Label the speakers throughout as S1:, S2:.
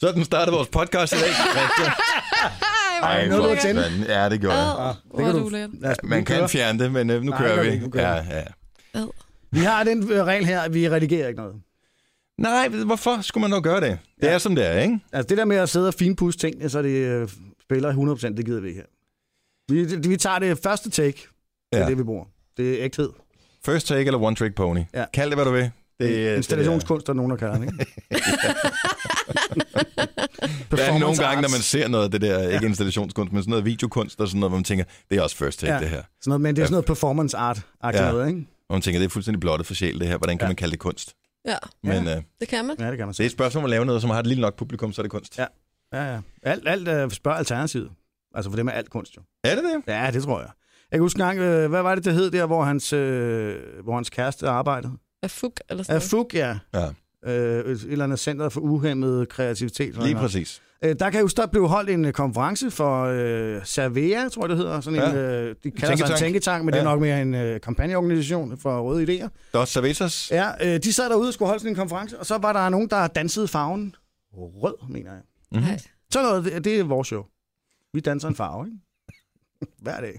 S1: Sådan startede vores podcast i dag.
S2: Ej,
S3: nåede du
S2: hvor
S3: at tænde?
S2: fanden. Ja, det gjorde jeg.
S3: Ad,
S4: det
S3: hvor
S4: kan
S3: er
S4: du-
S3: det ulækkert.
S4: Lad os,
S2: Man
S4: nu
S2: kan
S4: kører.
S1: fjerne det, men øh, nu
S4: Nej,
S1: kører
S4: gør
S1: vi.
S4: det ikke, nu
S1: ja,
S4: kører
S1: ja.
S3: Ad.
S4: Vi har den øh, regel her, at vi redigerer ikke noget.
S1: Nej, ved- hvorfor skulle man dog gøre det? Det er, som det er, ikke?
S4: Altså det der med at sidde og finpudse tingene, så det øh, spiller 100%, det gider vi ikke her. Vi, det- vi tager det første take, det er
S1: Ja.
S4: det vi bruger. Det er ægthed.
S1: First take eller one trick pony.
S4: Ja.
S1: Kald det, hvad du vil.
S4: Det,
S1: øh,
S4: Installationskunst, der er nogen, der kalder den, ikke?
S1: Det er nogle
S4: Performance
S1: gange, når
S4: arts.
S1: man ser noget af det der, ikke installationskunst, men sådan noget videokunst og sådan noget, hvor man tænker, det er også first take,
S4: Ja.
S1: ja. det her.
S4: Sådan noget, men det er sådan noget performance art
S1: Ja.
S4: ja. noget, ikke?
S1: Og man tænker, det er fuldstændig blottet for sjæl, det her. Hvordan kan
S4: Ja.
S1: man kalde det kunst?
S3: Ja,
S1: Men øh,
S3: det kan man.
S4: Ja, det kan man
S1: det er
S4: sige.
S1: et spørgsmål om at lave noget, som har et lille nok publikum, så er det kunst.
S4: Ja. Ja, ja. Alt, alt øh, spørger alternativet. Altså for det med alt kunst, jo.
S1: Er det det?
S4: Ja, det tror jeg. Jeg kan huske en gang, øh, hvad var det, det hed der, hvor hans, øh, hvor hans kæreste arbejdede?
S3: Er fuk eller sådan
S4: Af
S3: noget.
S4: FUG, ja.
S1: Ja.
S4: Øh, et, et eller andet center for uhemmet kreativitet. eller
S1: Lige
S4: noget.
S1: præcis.
S4: Øh, der kan jo der blev holdt en øh, konference for øh, Cervea, tror jeg, det hedder. Sådan en,
S1: Ja.
S4: øh, de kalder sig en
S1: Tænketank.
S4: tænketank, men ja. det
S1: Ja.
S4: er nok mere en øh, kampagneorganisation for røde idéer.
S1: Dos Cervezas.
S4: Ja, øh, de sad derude og skulle holde sådan en konference, og så var der nogen, der dansede farven rød, mener jeg.
S1: Mhm.
S3: Nej.
S4: Så noget, det, det er vores show. Vi danser en farve, ikke? Hver dag.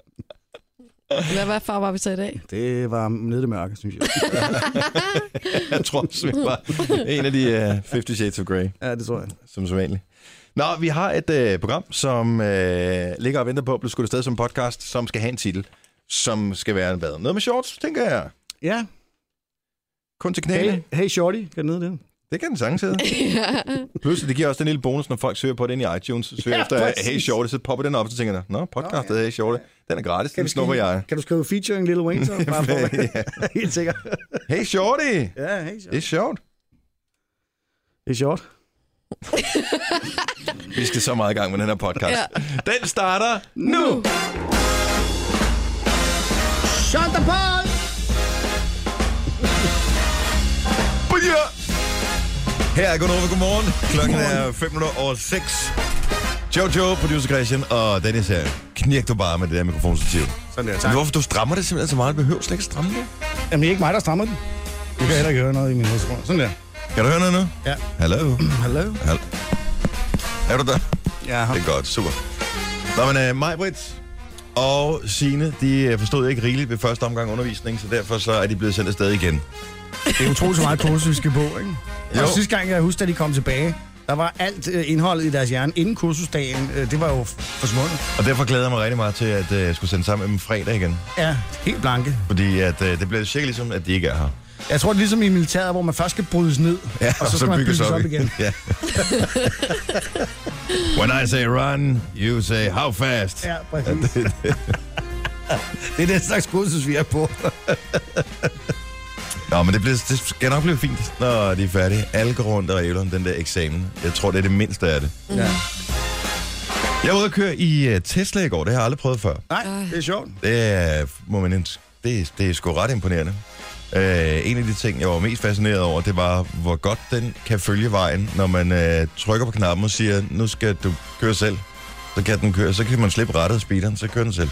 S3: Hvad, hvad farve var vi så i dag?
S4: Det var nede i det mørke, synes jeg.
S1: Jeg tror, Svend var en af de uh, 50 Shades of Grey,
S4: Ja, det tror jeg.
S1: som så vanligt. Nå, vi har et uh, program, som uh, ligger og venter på at blive skudt afsted som podcast, som skal have en titel, som skal være hvad? noget med shorts, tænker jeg.
S4: Ja,
S1: Kun til knæene.
S4: hey, hey Shorty, kan den hedde det?
S1: Det kan den sagtens hedde. Pludselig, det giver også den lille bonus, når folk søger på den i iTunes. Søger
S4: Ja,
S1: ja, efter
S4: præcis.
S1: Hey Shorty, så popper den op, så tænker jeg, Nå, podcastet Hey Shorty, den er gratis, den
S4: du
S1: snupper
S4: skrive-
S1: jeg.
S4: Kan du skrive featuring Little Wing, så bare for at helt sikker.
S1: Hey Shorty,
S4: Ja, helt
S1: det er
S4: sikker.
S1: sjovt.
S4: Det er sjovt.
S1: Vi skal så meget i gang med den her podcast.
S3: Ja.
S1: Den starter nu!
S4: Shut the pod!
S1: Booyah! Her er Gunnova, godmorgen. Klokken er 5 minutter over 6. Jojo, producer Christian og Dennis her. Knirk du bare med det der mikrofonstativ.
S4: Sådan der,
S1: Men hvorfor du strammer det simpelthen så meget? Du behøver slet ikke stramme det.
S4: Jamen, det er ikke mig, der strammer den. Du kan heller ikke høre noget i min hovedskål. Sådan der.
S1: Kan du høre noget nu?
S4: Ja.
S1: Hallo?
S4: Hallo?
S1: Hallo? Er du der?
S4: Ja,
S1: Det er godt, super. Nå, men uh, Majbrit og Sine, de øh, forstod ikke rigeligt ved første omgang undervisning, så derfor så er de blevet sendt afsted igen.
S4: det er utroligt så meget kursus, vi skal på, ikke? Jo.
S1: Jo.
S4: Og sidste gang, jeg husker, da de kom tilbage, der var alt øh, indholdet i deres hjerne inden kursusdagen. Øh, det var jo f- forsvundet.
S1: Og derfor glæder jeg mig rigtig meget til, at øh, jeg skulle sende sammen med dem fredag igen.
S4: Ja, helt blanke.
S1: Fordi at, øh, det bliver cirka ligesom, at de ikke er her.
S4: Jeg tror, det er ligesom i militæret, hvor man først skal brydes ned, ja, og så skal man bygges op, op igen.
S1: ja. When I say run, you say how fast.
S4: Ja, præcis. det er den slags kursus, vi er på.
S1: Nå, men det, bliver, det skal nok blive fint, når de er færdige. Alle går rundt og ævler om den der eksamen. Jeg tror, det er det mindste af det.
S4: Ja.
S1: Jeg var ude at køre i uh, Tesla i går. Det har jeg aldrig prøvet før.
S4: Nej, det er sjovt.
S1: Det er, må man, ind- det, er- det er sgu ret imponerende. Uh, en af de ting, jeg var mest fascineret over, det var, hvor godt den kan følge vejen, når man uh, trykker på knappen og siger, nu skal du køre selv. Så kan den køre, så kan man slippe rettet af speederen, så kører den selv.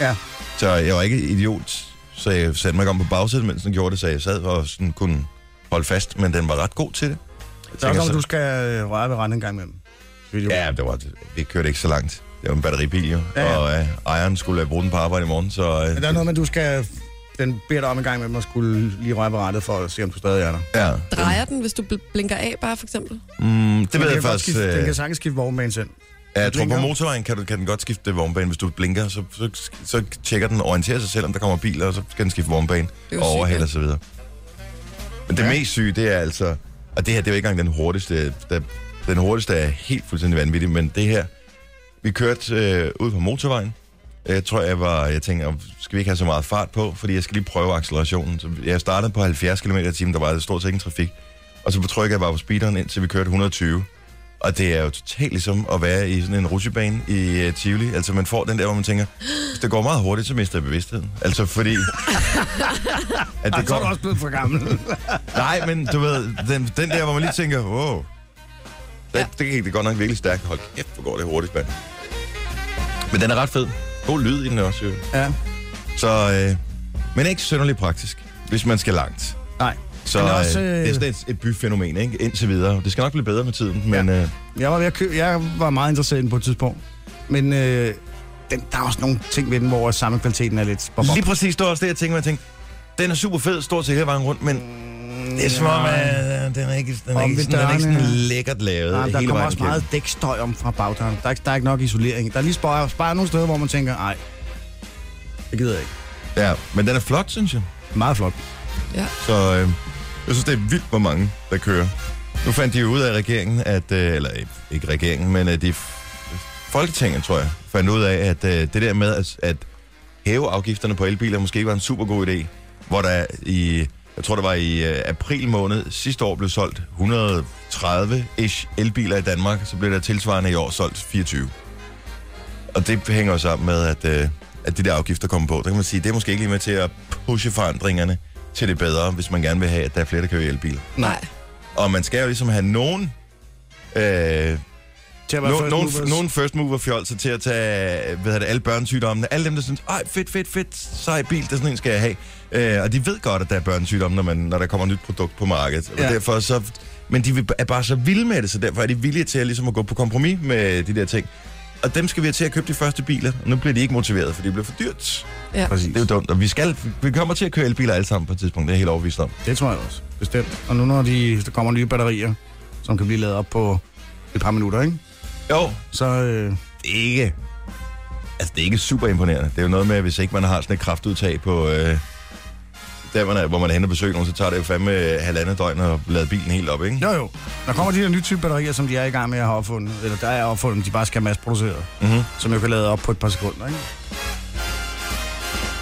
S4: Ja.
S1: Så jeg var ikke idiot, så jeg satte mig ikke om på bagsædet, mens den gjorde det, så jeg sad og sådan kunne holde fast, men den var ret god til det.
S4: Så er
S1: tænker
S4: det, om
S1: så-
S4: du skal øh, røre ved randen en gang imellem.
S1: Ja, det var, vi kørte ikke så langt. Det var en batteribil jo,
S4: Ja,
S1: ja, ja.
S4: ja.
S1: og øh, ejeren skulle øh, bruge den på arbejde i morgen, så... Øh,
S4: Men der er noget med, du skal... Den beder dig om en gang imellem at skulle lige røre ved rattet for at se, om du stadig er der.
S1: Ja,
S3: Drejer den, hvis du bl- blinker af bare, for eksempel?
S1: mm, det
S4: Den
S1: ved
S4: kan
S1: jeg
S4: godt
S1: faktisk...
S4: Skifte, den
S1: Øh,
S4: kan sagtens skifte vognmænd selv.
S1: ja, jeg tror, på
S4: blinker.
S1: motorvejen kan, du, kan den godt skifte vognbane. Hvis du blinker, så, så, så tjekker den og orienterer sig selv, om der kommer biler, og så skal den skifte vognbane
S3: Det er jo
S1: og overhale
S3: sygt,
S1: osv. Men det mest syge, det er altså... Og det her, det er jo ikke engang den hurtigste. Der, den hurtigste er helt fuldstændig vanvittig, men det her... Vi kørte øh, ud på motorvejen. Jeg tror, jeg var... Jeg tænker, skal vi ikke have så meget fart på? Fordi jeg skal lige prøve accelerationen. Så jeg startede på 70 km i timen, der var stort set ingen trafik. Og så trykkede jeg bare på speederen, indtil vi kørte 120. Og det er jo totalt ligesom at være i sådan en rutsjebane i øh, Tivoli. Altså, man får den der, hvor man tænker, hvis det går meget hurtigt, så mister jeg bevidstheden. Altså, fordi... at
S4: Ah, så er du også blevet for gammel.
S1: Nej, men du ved, den, den der, hvor man lige tænker, wow, det, ja.
S3: Ja.
S1: det gik det godt nok virkelig stærkt. Hold kæft, hvor går det hurtigt, mand. Men den er ret fed. God lyd i den også, jo.
S4: ja.
S1: Så, øh, men ikke synderligt praktisk, hvis man skal langt.
S4: Nej.
S1: Så
S4: Men
S1: øh,
S4: også, øh,
S1: det er sådan et, et byfænomen, ikke? Indtil videre. Det skal nok blive bedre med tiden, men øh,
S4: Jeg var, ved at købe, jeg var meget interesseret i den på et tidspunkt. Men øh, den, der er også nogle ting ved den, hvor sammenkvaliteten er lidt... bob- bob.
S1: lige præcis det var også det, jeg tænkte, mig. jeg tænkte, den er super fed, stort set hele vejen rundt, men det er som om,
S4: Ja.
S1: at øh, den er ikke, den er
S4: Om
S1: ikke,
S4: ved
S1: sådan, den er ikke
S4: dørene,
S1: sådan
S4: ja.
S1: lækkert lavet
S4: Nej,
S1: hele
S4: der
S1: vejen
S4: kommer også
S1: igennem.
S4: meget dækstøj om fra bagdøren. Der er, ikke- der er ikke nok isolering. Der er lige spare, spare nogle steder, hvor man tænker, nej, det gider jeg ikke.
S1: Ja, men den er flot, synes jeg.
S4: Meget flot.
S1: Så øh, jeg synes, det er vildt, hvor mange, der kører. Nu fandt de jo ud af regeringen, at, øh, eller øh, ikke regeringen, men at de Folketinget, tror jeg, fandt ud af, at øh, det der med at, at hæve afgifterne på elbiler måske ikke var en super god idé, hvor der i, jeg tror det var i øh, april måned sidste år blev solgt 130-ish elbiler i Danmark, så blev der tilsvarende i år solgt 24. Og det hænger jo sammen med, at, øh, at de der afgifter kommer på. Der kan man sige, det er måske ikke lige med til at pushe forandringerne til det bedre, hvis man gerne vil have, at der er flere, der kører i elbiler.
S5: Nej.
S1: Og man skal jo ligesom have nogen... Øh,
S4: Til at være
S1: no,
S4: first
S1: nogen,
S4: movers.
S1: nogen first mover fjolser til at tage hvad hedder det, alle børnesygdommene. Alle dem, der synes, ej, fedt, fedt, fedt, sej bil, det er sådan en, skal jeg have. Øh, og de ved godt, at der er børnesygdomme, når, man, når der kommer et nyt produkt på markedet. Ja.
S4: Ja.
S1: Og derfor så, men de vil- er bare så vilde med det, så derfor er de villige til at, ligesom at gå på kompromis med de der ting. Og dem skal vi have til at købe de første biler. Og nu bliver de ikke motiveret, for det bliver for dyrt.
S5: Ja.
S1: Det er jo dumt. Og vi, skal, vi kommer til at køre elbiler alle sammen på et tidspunkt. Det er jeg helt overbevist om.
S4: Det tror jeg også, bestemt. Og nu når de, der kommer nye batterier, som kan blive lavet op på et par minutter, ikke?
S1: Jo,
S4: Så øh,
S1: ikke... Altså, det er ikke super imponerende. Det er jo noget med, at hvis ikke man har sådan et kraftudtag på... Øh, der, man er, hvor man er henne og besøger nogen, så tager det jo fandme øh, halvandet døgn at lade bilen helt op, ikke?
S4: jo jo, der kommer de her nye type batterier, som de er i gang med at have opfundet, eller der er opfundet, de bare skal have masseproduceret,
S1: Mm-hmm.
S4: som jo kan lade op på et par sekunder, ikke?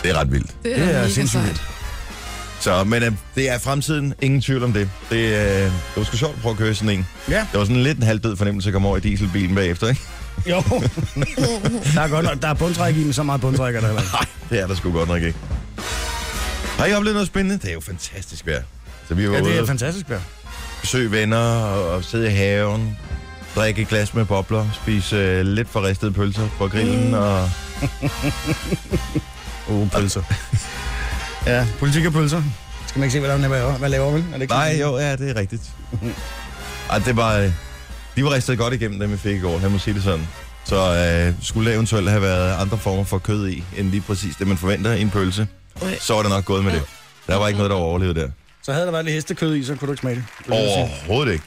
S1: Det er ret vildt.
S5: Det er,
S4: Det
S5: det
S4: er
S5: er mega
S4: sindssygt
S5: sejt.
S4: vildt.
S1: Så, men øh, det er fremtiden. Ingen tvivl om det. Det, øh, det var sgu sjovt at prøve at køre i sådan en.
S4: Ja.
S1: Det var sådan lidt en halvdød fornemmelse at komme over i dieselbilen bagefter, ikke?
S4: Jo. der er godt nok, der er bundtræk i, men så meget bundtræk er der heller ikke.
S1: Nej, det er der sgu godt nok ikke. Har I oplevet noget spændende? Det er jo fantastisk vejr. Så vi var
S4: Ja, det
S1: ude
S4: er
S1: og
S4: fantastisk, Per.
S1: besøge venner og, og sidde i haven, drikke et glas med bobler, spise øh, lidt for ristede pølser på grillen mm. og...
S4: Oh, pølser. ja, politik og pølser. Skal man ikke se, hvad der laver, hvad laver vel? Er det ikke
S1: Nej,
S4: sådan?
S1: jo, ja, det er rigtigt. Ej, det var... Øh, de var ristet godt igennem, dem vi fik i går, lad mig sige det sådan. Så øh, skulle der eventuelt have været andre former for kød i, end lige præcis det, man forventer i en pølse,
S5: Nej.
S1: så var det nok gået med det. Der var ikke noget, der overlevede der.
S4: Så havde der været lidt hestekød i, så kunne du ikke smage det. Det vil jeg sige.
S1: Overhovedet ikke.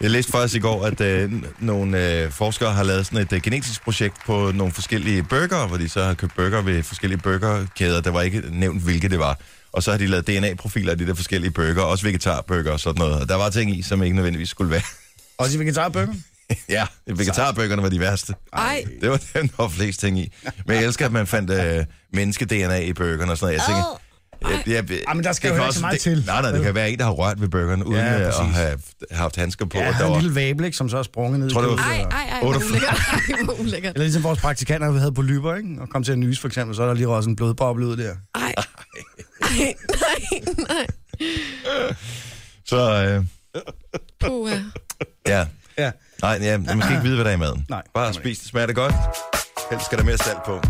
S1: Jeg læste faktisk i går, at øh, n- nogle øh, forskere har lavet sådan et øh, genetisk projekt på nogle forskellige burger, hvor de så har købt burger ved forskellige burgerkæder. Der var ikke nævnt, hvilke det var. Og så har de lavet DNA-profiler af de der forskellige burger, også vegetarburger og sådan noget. Og der var ting i, som ikke nødvendigvis skulle være.
S4: Også i vegetarbøkken.
S1: ja, vegetarburgerne var de værste.
S5: Ej,
S1: Det var dem, der var flest ting i. Men jeg elsker, at man fandt øh, menneske-DNA i burgerne og sådan noget. Jeg tænker, jeg, jeg, jeg,
S4: Ej, men der skal jo
S1: kan
S4: heller ikke
S1: også-
S4: så meget
S1: det,
S4: til.
S1: Nej, nej, det kan være en, der har rørt ved burgerne, uden
S4: Ja,
S1: ja, at
S4: præcis.
S1: have haft handsker på.
S4: Ja,
S1: og
S4: jeg
S1: der
S4: havde en
S1: var-
S4: lille vabel, ikke, som så er sprunget ned. i
S1: Tror du, det
S4: kødet,
S1: var-
S5: ej,
S4: eller-
S5: ej, ej, hvor
S1: Otte-
S5: ulækkert. Ej, hvor ulækkert.
S4: Eller ligesom vores praktikanter havde på lyber, ikke? Og kom til at nyse, for eksempel, så er der lige også en blodboble ud der.
S5: Ej. Ej, nej, nej.
S1: Så øh,
S5: Puh, ja.
S1: ja,
S4: Ja.
S1: nej, ja, man skal ikke vide, hvad der er i maden.
S4: Nej,
S1: Bare
S4: det kan man
S1: spis det, smager det godt. Helst skal der mere salt på.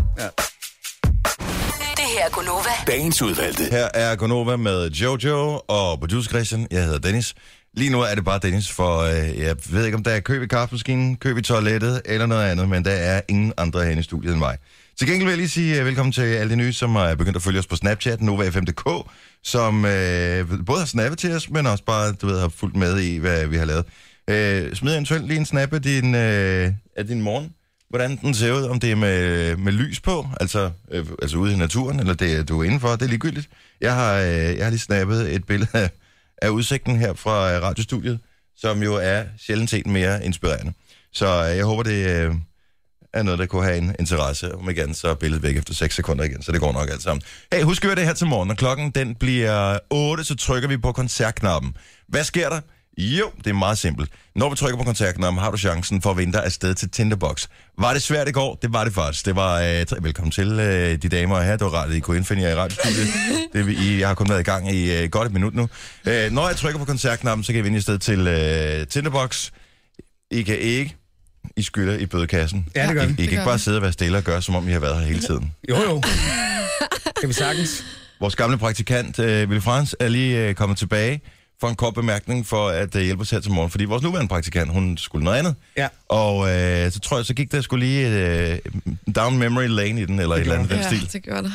S6: Det her er Gunova.
S7: Dagens udvalgte.
S1: Her er Gonova med Jojo og producer Christian. Jeg hedder Dennis. Lige nu er det bare Dennis, for øh, jeg ved ikke, om der er køb i kaffemaskinen, køb i toilettet eller noget andet, men der er ingen andre herinde i studiet end mig. Til gengæld vil jeg lige sige øh, velkommen til alle de nye, som er begyndt at følge os på Snapchat, NovaFM.dk, som øh, både har snappet til os, men også bare du ved, har fulgt med i, hvad vi har lavet. Øh, smid eventuelt lige en snap af din, øh, af din morgen hvordan den ser ud, om det er med, med lys på, altså, øh, altså ude i naturen, eller det er- du er indenfor, det er ligegyldigt. Jeg har, øh, jeg har lige snappet et billede af, af udsigten her fra øh, radiostudiet, som jo er sjældent set mere inspirerende. Så øh, jeg håber, det øh, er noget, der kunne have en interesse. Om igen, så er billedet væk efter 6 sekunder igen, så det går nok alt sammen. Hey, husk at høre det her til morgen. Når klokken den bliver 8, så trykker vi på koncertknappen. Hvad sker der? Jo, det er meget simpelt. Når vi trykker på koncertknappen, har du chancen for at vinde dig afsted til Tinderbox. Var det svært i går? Det var det faktisk. Det var, øh, tre- velkommen til øh, de damer her. Det var rart, at I kunne indfinde jer i radiostudiet. Det, vil I, jeg har kun været i gang i øh, godt et minut nu. Øh, når jeg trykker på koncertknappen, så kan I vinde jer afsted til øh, Tinderbox. I kan ikke. I skylder i bødekassen.
S4: Ja, det gør
S1: I,
S4: vi.
S1: I kan ikke
S5: gør
S1: bare
S5: vi.
S1: sidde og være stille og gøre, som om I har været her hele tiden.
S4: Jo, jo. Kan vi sagtens.
S1: Vores gamle praktikant, øh, Ville Frans, er lige øh, kommet tilbage for en kort bemærkning for at øh, hjælpe os her til morgen, fordi vores nuværende praktikant, hun skulle noget andet.
S4: Ja.
S1: Og øh, så tror jeg, så gik der skulle lige øh, down memory lane i den, eller et eller andet den
S3: ja,
S1: stil.
S3: det gjorde der.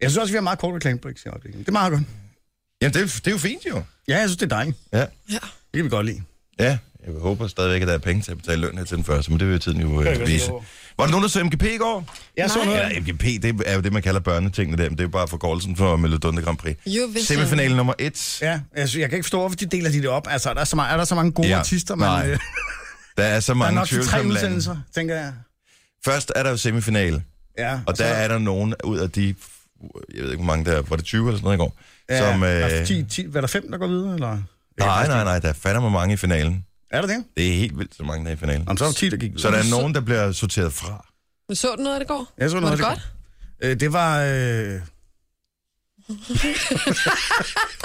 S4: Jeg synes også, vi har meget kort reklamebrik i øjeblikket. Det er meget godt.
S1: Jamen, det, er- det er jo fint jo.
S4: Ja, jeg synes, det er dejligt.
S1: Ja.
S3: Ja.
S4: Det kan vi godt lide.
S1: Ja, jeg håber stadigvæk, at der er penge til at betale løn her til den første, men det vil tiden jo øh, vise. Var der nogen, der så MGP i går?
S4: Jeg så
S3: Nej.
S4: noget.
S1: Eller MGP, det er jo det, man kalder børnetingene der, men det er jo bare forkortelsen for Melodonde Grand Prix.
S3: Eurovision.
S1: Semifinale nummer et.
S4: Ja, jeg, synes, jeg kan ikke forstå, hvorfor de deler de det op. Altså, er der så mange, er der så mange gode
S1: Ja,
S4: ja, artister, man,
S1: nej.
S4: øh,
S1: Der er så
S4: der er
S1: mange
S4: nok til tre
S1: tvivlsomme lande.
S4: udsendelser, tænker jeg.
S1: Først er der jo semifinale,
S4: Ja,
S1: og der er der nogen ud af de, jeg ved ikke, hvor mange der er, var det 20 eller sådan noget i går?
S4: ja,
S1: som,
S4: som, øh... der er 10, 10, hvad er der fem, der går videre, eller?
S1: nej, nej, nej, der er fandme mange i finalen.
S4: Er der det?
S1: Det er helt vildt, så mange der er i finalen.
S4: Jamen, så er der 10, der gik videre.
S1: Så der er nogen, der bliver sorteret fra.
S3: Men Så du noget af det går?
S4: Jeg så noget,
S3: Var
S4: af
S3: det godt?
S4: Øh, det var... Øh,
S1: Det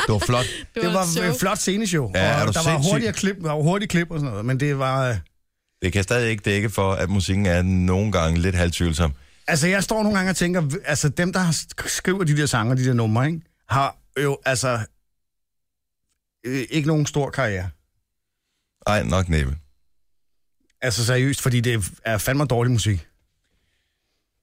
S1: var flot.
S3: Det
S4: det
S3: var,
S4: var
S3: et
S4: et
S3: show.
S4: flot sceneshow.
S1: Ja, er
S4: og
S1: du
S4: der var
S1: sindssyg?
S4: hurtige klip, der var hurtige klip og sådan noget, men det var... Øh,
S1: Det kan stadig ikke dække for, at musikken er nogle gange lidt halvtvivlsom.
S4: altså, jeg står nogle gange og tænker, v- altså dem, der har sk- skriver de der sange og de der numre, ikke, har jo altså øh, ikke nogen stor karriere.
S1: Ej, nok næppe.
S4: Altså seriøst, fordi det er fandme dårlig musik.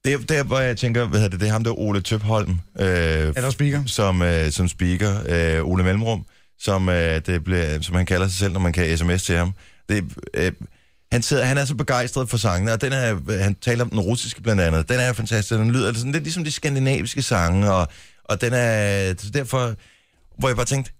S1: Det er der, hvor jeg tænker, hvad hedder det, det er ham der Ole Tøbholm, øh,
S4: Er der speaker?
S1: som, øh, som speaker, øh, Ole Mellemrum, som, øh, det bliver, som han kalder sig selv, når man kan sms til ham. Det, øh, han, sidder, han er så begejstret for sangene, og den er, han taler om den russiske blandt andet. Den er fantastisk, den lyder sådan lidt ligesom de skandinaviske sange, og, og den er så derfor, hvor jeg bare tænkte,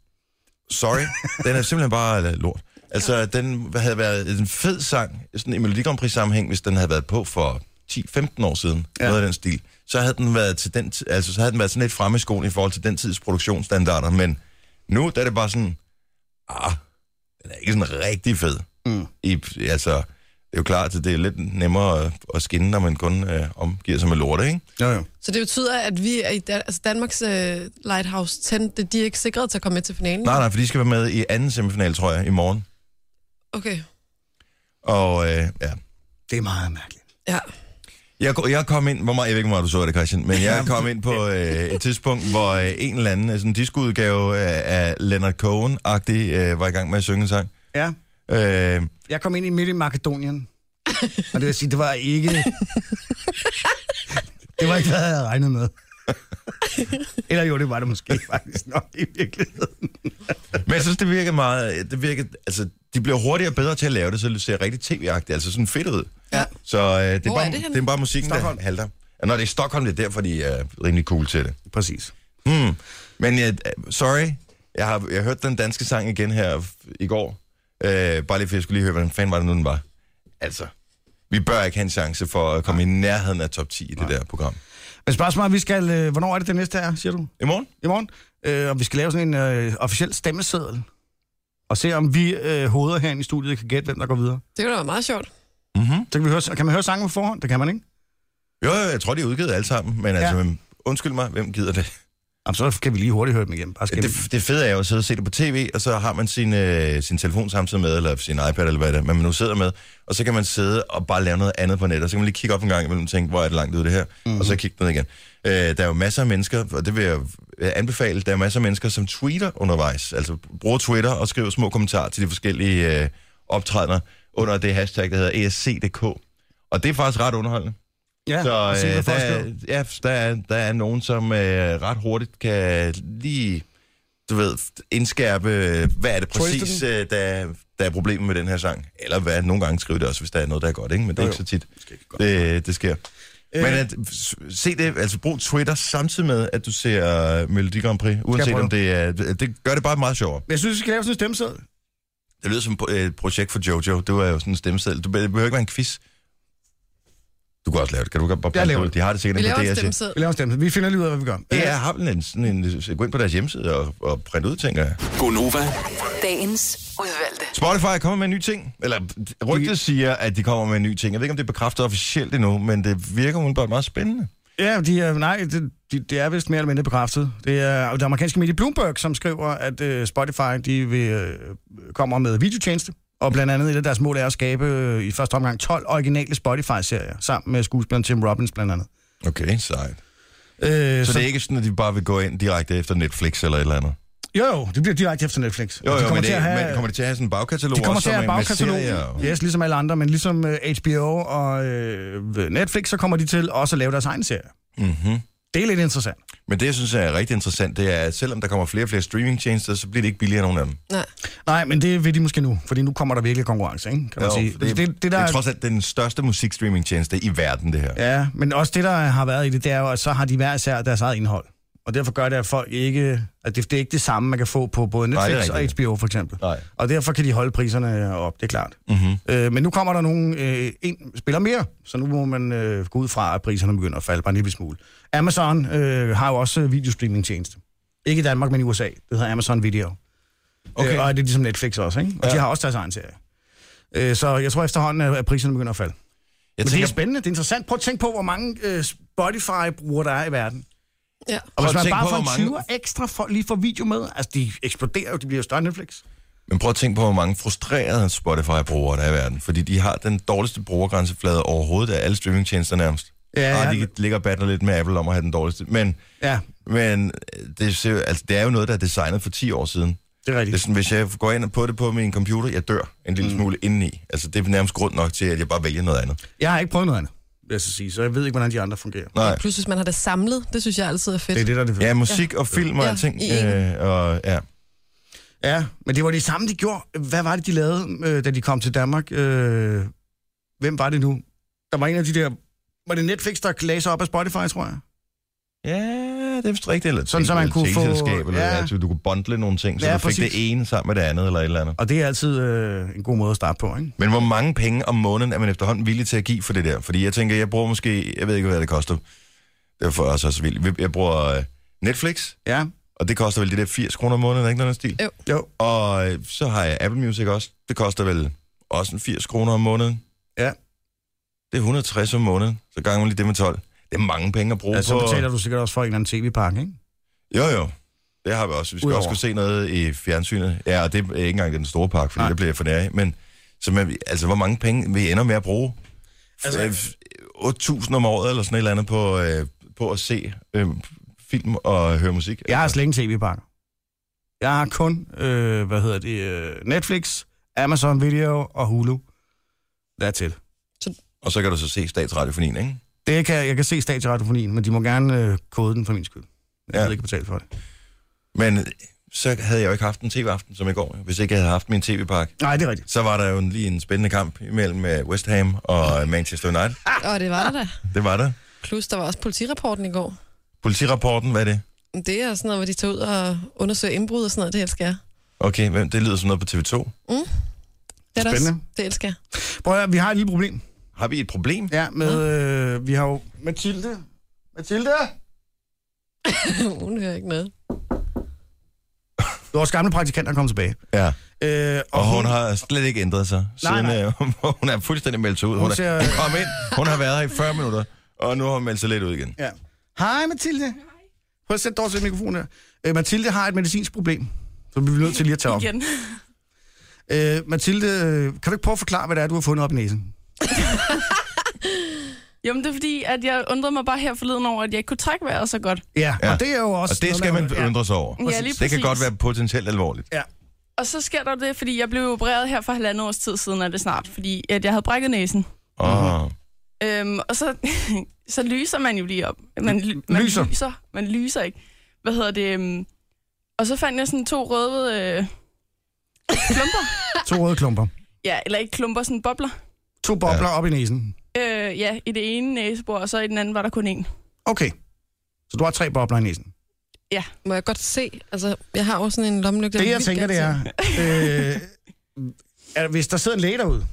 S1: sorry, den er simpelthen bare øh, lort. Altså, den havde været en fed sang, sådan i Melodi Grand Prix sammenhæng, hvis den havde været på for 10-15 år siden, ja.
S4: Ja.
S1: noget af den stil. Så havde den været til den, ti- altså, så havde den været sådan lidt fremme i skolen i forhold til den tids produktionsstandarder, men nu der er det bare sådan, ah, den er ikke sådan rigtig fed.
S4: Mm.
S1: I, altså, det er jo klart, at det er lidt nemmere at, at skinne, når man kun øh, omgiver sig med lorte, ikke?
S4: Jo, jo.
S3: Så det betyder, at vi er i Dan- altså Danmarks øh, Lighthouse 10, det, de er ikke sikret til at komme med til finalen?
S1: Nej, nej, for de skal være med i anden semifinal, tror jeg, i morgen.
S3: Okay,
S1: Og øh, ja,
S4: Det er meget mærkeligt.
S3: ja.
S1: Jeg, går- jeg kom ind, hvor meget, jeg ved ikke, hvor meget du så det, Christian, men jeg kom ind på øh, et tidspunkt, hvor øh, en eller anden øh, sådan en diskoudgave øh, af Leonard Cohen-agtig øh, var i gang med at synge en sang.
S4: Ja,
S1: Øh,
S4: jeg kom ind i midt i Makedonien, og det vil sige, det var ikke... Det var ikke, hvad jeg havde regnet med. Eller jo, det var det måske faktisk nok i virkeligheden.
S1: men jeg synes, det virker meget... Det virker, altså, de bliver hurtigere og bedre til at lave det, så det ser rigtig tv-agtigt, altså sådan fedt ud.
S3: Ja.
S1: Så øh, det, er
S3: Hvor
S1: bare,
S3: er det henne?
S1: det er bare musikken,
S4: Stockholm.
S1: der halter. Ja, når det er i Stockholm, det er derfor, de er rimelig cool til det.
S4: Præcis.
S1: Hmm. Men jeg, sorry, jeg har jeg hørte den danske sang igen her f- i går. Øh, bare lige for, jeg skulle lige høre, hvordan fanden var det nu, den var. Altså, vi bør ikke have en chance for at komme i nærheden af top 10 i det der program.
S4: Men spørgsmålet er, vi skal, øh, hvornår er det det næste er, siger du?
S1: I morgen?
S4: I morgen. Øh, og vi skal lave sådan en øh, officiel stemmeseddel. Og se, om vi øh, hoveder herinde i studiet kan gætte, hvem der går videre.
S3: Det kunne da være meget sjovt.
S1: Mm-hmm.
S4: Så kan, vi høre, kan man høre sangen på forhånd? Det kan man ikke.
S1: Jo, jo, jeg tror, de er udgivet alle sammen, men altså,
S4: Ja.
S1: hvem- undskyld mig, hvem gider det?
S4: Jamen, så kan vi lige hurtigt høre dem igen. Bare skal det...
S1: det? Det fede er jo at sidde og se det på tv, og så har man sin, øh, sin telefon samtidig med, eller sin iPad, eller hvad det er, men man nu sidder med, og så kan man sidde og bare lave noget andet på nettet, og så kan man lige kigge op en gang imellem og tænke, hvor er det langt ud det her, mm-hmm.
S4: Mhm.
S1: og så kigge ned igen. Øh, der er jo masser af mennesker, og det vil jeg øh, anbefale, der er masser af mennesker, som tweeter undervejs, altså bruger Twitter og skriver små kommentarer til de forskellige øh, optrædener under det hashtag, der hedder E ESCDK. Og det er faktisk ret underholdende.
S4: Ja,
S1: Så
S4: og se,
S1: øh,
S4: hvad
S1: der,
S4: folk
S1: er,
S4: skriver.
S1: ja, der, er, der er nogen, som øh, ret hurtigt kan lige, du ved, indskærpe, øh, hvad er det
S4: Twister
S1: præcis, øh, der, der er problemet med den her sang. Eller hvad, nogle gange skriver det også, hvis der er noget, der er godt, ikke? Men det er
S4: Jo,
S1: ikke så
S4: jo.
S1: tit,
S4: Skal ikke gå.
S1: det, det sker.
S4: Øh.
S1: Men at, s- se det, altså brug Twitter samtidig med, at du ser øh, Melodi Grand Prix, uanset
S4: prøve.
S1: om det er, det gør det bare meget sjovere.
S4: Men Jeg synes, vi skal lave sådan en stemmeseddel.
S1: Det lyder som øh, et projekt for Jojo, det var jo sådan en stemmeseddel. Du det behøver ikke være en quiz. Du kan også lave det, kan du godt bare prøve
S4: laver
S1: det?
S4: det.
S1: De har det sikkert inde
S3: Vi laver
S1: på
S3: en
S1: DRC.
S3: stemmeseddel.
S4: Vi laver en stemmeseddel. Vi finder lige ud af, hvad vi gør.
S1: Det er har vel en, sådan en, gå ind på deres hjemmeside og, og print ud, tænker jeg.
S8: Gonova,
S9: Dagens udvalgte.
S1: Spotify kommer med en ny ting, eller rygtet siger, at de kommer med en ny ting. Jeg ved ikke, om det er bekræftet officielt endnu, men det virker umiddelbart meget spændende.
S4: Ja, de er, nej, det, de, det er vist mere eller mindre bekræftet. Det er det amerikanske medie Bloomberg, som skriver, at øh, Spotify de vil, øh, kommer med videotjeneste. Og blandt andet et af deres mål er at skabe øh, i første omgang 12 originale Spotify-serier, sammen med skuespilleren Tim Robbins blandt andet.
S1: Okay, sejt.
S4: Øh,
S1: Så
S4: så,
S1: det er ikke sådan, at de bare vil gå ind direkte efter Netflix eller et eller andet?
S4: Jo, jo, det bliver direkte efter Netflix.
S1: Jo,
S4: De
S1: jo,
S4: kommer
S1: men,
S4: til
S1: det,
S4: at have-
S1: men kommer det til at have sådan en bagkatalog?
S4: De kommer
S1: også,
S4: til at have
S1: med- med serier
S4: bagkatalogen,
S1: og-
S4: yes, ligesom alle andre, men ligesom øh, HBO og øh, Netflix, så kommer de til også at lave deres egen serie.
S1: Mhm.
S4: Det er lidt interessant.
S1: Men det, jeg synes er rigtig interessant, det er, at selvom der kommer flere og flere streamingtjenester, så bliver det ikke billigere end nogen af dem.
S3: Nej.
S4: Nej, men det vil de måske nu, fordi nu kommer der virkelig konkurrence, ikke? kan man sige. Altså,
S1: for det, det, det, der... det er trods alt den største musikstreamingtjeneste i verden, det her.
S4: Ja, men også det, der har været i det, det er jo, at så har de hver især deres eget indhold. Og derfor gør det, at folk ikke... At det, det er ikke det samme, man kan få på både
S1: Nej, det er
S4: Netflix og
S1: rigtigt.
S4: HBO, for eksempel.
S1: Nej.
S4: Og derfor kan de holde priserne op, det er klart.
S1: Mm-hmm.
S4: Øh, men nu kommer der nogle, øh, en spiller mere, så nu må man øh, gå ud fra, at priserne begynder at falde bare en lille smule. Amazon øh, har jo også øh, videostreamingtjeneste. Ikke i Danmark, men i USA. Det hedder Amazon Video. Okay. Øh, og det er ligesom Netflix også, ikke? Og ja. de har også deres egen serie. Øh, så jeg tror efterhånden, at- at priserne begynder at falde.
S1: Jeg
S4: Men det
S1: tænker,
S4: er spændende, det er interessant. Prøv at tænke på, hvor mange øh, Spotify-brugere der er i verden.
S3: Ja.
S4: Og
S1: Prøv at
S4: hvis man
S1: tænke
S4: bare
S1: på,
S4: får en
S1: hvor
S4: 20
S1: mange-
S4: ekstra for, lige for video med, altså de eksploderer jo, de bliver jo større end Netflix.
S1: men prøv at tænke på, hvor mange frustrerede Spotify-brugere der er i verden. Fordi de har den dårligste brugergrænseflade overhovedet af alle streamingtjenester nærmest.
S4: Ja,
S1: Og
S4: ja.
S1: de ligger og battler lidt med Apple om at have den dårligste. Men,
S4: Ja,
S1: men øh, det, ser- altså, det er jo noget, der er designet for 10 år siden.
S4: det er
S1: Det er
S4: rigtigt. Mm.
S1: sådan, hvis jeg går ind og på det på min computer, jeg dør en lille smule indeni. Altså, det er nærmest grund nok til, at jeg bare vælger noget andet.
S4: Jeg har ikke prøvet noget andet, vil jeg så sige, så jeg ved ikke, hvordan de andre fungerer.
S1: Nej.
S3: Plus, hvis man har det samlet, det synes jeg altid er fedt.
S4: Det er det, der er det fede.
S1: Ja, musik og film og
S3: Ja,
S1: alting.
S3: i en.
S1: Øh, og, ja.
S4: Ja, men det var det samme, de gjorde. Hvad var det, de lavede, øh, da de kom til Danmark? Øh, hvem var det nu? Der var en af de der... Var det Netflix, der lagde sig op af Spotify, tror jeg?
S1: Ja, det er vist rigtigt. Eller
S4: Sådan, så man kunne få-
S1: teleselskab, Eller,
S4: ja.
S1: altså, du kunne bundle nogle ting, så
S4: Ja,
S1: du fik
S4: præcis.
S1: det ene sammen med det andet eller et eller andet.
S4: Og det er altid øh, en god måde at starte på, ikke?
S1: Men hvor mange penge om måneden er man efterhånden villig til at give for det der? Fordi jeg tænker, jeg bruger måske... Jeg ved ikke, hvad det koster. Det er for os også vildt. Jeg bruger øh, Netflix,
S4: Ja.
S1: og det koster vel det der 80 kroner om måneden, er ikke noget af den stil?
S3: Jo.
S4: Jo.
S1: Og øh, så har jeg Apple Music også. Det koster vel også en 80 kroner om måneden.
S4: Ja.
S1: Det er 160 om måneden. Så ganger man lige det med 12. Det er mange penge at bruge på...
S4: ja Altså, så betaler du sikkert også for en eller anden tv-pakke, ikke?
S1: Jo, jo. Det har vi også. Vi skal
S4: Udover.
S1: Udover. også kunne se noget i fjernsynet. Ja, og det er ikke engang den store park, fordi
S4: Nej.
S1: Nej. det bliver jeg for nær i. Men så man, altså, hvor mange penge vi ender med at bruge?
S4: Altså-
S1: Altså, 8.000 om året eller sådan et eller andet på, øh, på at se øh, film og høre musik.
S4: Jeg har slet ikke en tv-pakke. Jeg har kun, øh, hvad hedder det, øh, Netflix, Amazon Video og Hulu. That's it.
S1: Og så kan du så se statsradiofonien, ikke?
S4: Det kan, jeg kan se statsradiofonien, men de må gerne øh, kode den for min skyld. Jeg
S1: Ja.
S4: ja. ikke betale for det.
S1: Men så havde jeg jo ikke haft en tv-aften som i går, hvis ikke jeg havde haft min tv-pakke.
S4: Nej, det er rigtigt.
S1: Så var der jo en- lige en spændende kamp imellem øh, West Ham og Manchester United.
S3: Og det var der da.
S1: Det var der.
S3: Plus, der var også politirapporten i går.
S1: Politirapporten, hvad er det?
S3: Det er sådan noget, hvor de tager ud og undersøger indbrud og sådan noget, det elsker jeg. Mm.
S1: Okay, hvem- det lyder som noget på TV2.
S3: Det er der
S4: Spændende.
S3: Også, det elsker jeg.
S4: Prøv at, høre, vi har et lille problem.
S1: Har vi et problem?
S4: Ja, med, øh, vi har jo Mathilde. Mathilde?
S3: Hun hører ikke med.
S4: Vores gamle praktikant er kommet tilbage.
S1: Ja.
S4: Øh,
S1: Og, og hun, hun har slet ikke ændret sig,
S4: Nej,
S1: siden
S4: nej.
S1: nej, nej. hun er fuldstændig meldt sig ud. Hun,
S4: Hun
S1: hun, er,
S4: ser-
S1: hun kom ind, hun har været her i 40 minutter, og nu har hun meldt sig lidt ud igen.
S4: Ja. Hej Mathilde. Prøv at sætte dig over til mikrofonen her. Øh, Mathilde har et medicinsk problem, som vi bliver nødt til lige at tage op.
S8: Igen.
S4: Øh, Mathilde, øh, kan du ikke prøve at forklare, hvad det er, du har fundet op i næsen?
S8: Jamen, det er fordi, at jeg undrede mig bare her forleden over, at jeg ikke kunne trække vejret så godt.
S4: Ja,
S1: Ja.
S4: og det er jo også...
S1: Og det
S4: noget,
S1: skal
S4: der-
S1: man undre sig over.
S8: Ja, lige
S1: det kan
S8: præcis.
S1: godt være potentielt alvorligt.
S4: Ja.
S8: Og så sker der det, fordi jeg blev opereret her for halvandet års tid siden, er det snart, fordi at jeg havde brækket næsen.
S4: Mhm.
S1: Og,
S8: Øhm, og så, så lyser man jo lige op. Man, ly- man
S4: Lyser.
S8: lyser. Man lyser ikke. Hvad hedder det? øhm, Og så fandt jeg sådan to røde øh, klumper.
S4: To røde klumper.
S8: Ja, eller ikke klumper, sådan bobler.
S4: To bobler ja. op i næsen.
S8: Øh, ja, i det ene næsebor, og så i den anden var der kun én.
S4: Okay. Så du har tre bobler i næsen.
S3: Må jeg godt se? Altså, jeg har jo sådan en lommelygte.
S4: Det,
S3: der
S4: jeg
S3: vildt
S4: tænker,
S3: gerne
S4: det er, øh, er, hvis der sidder en læge derude,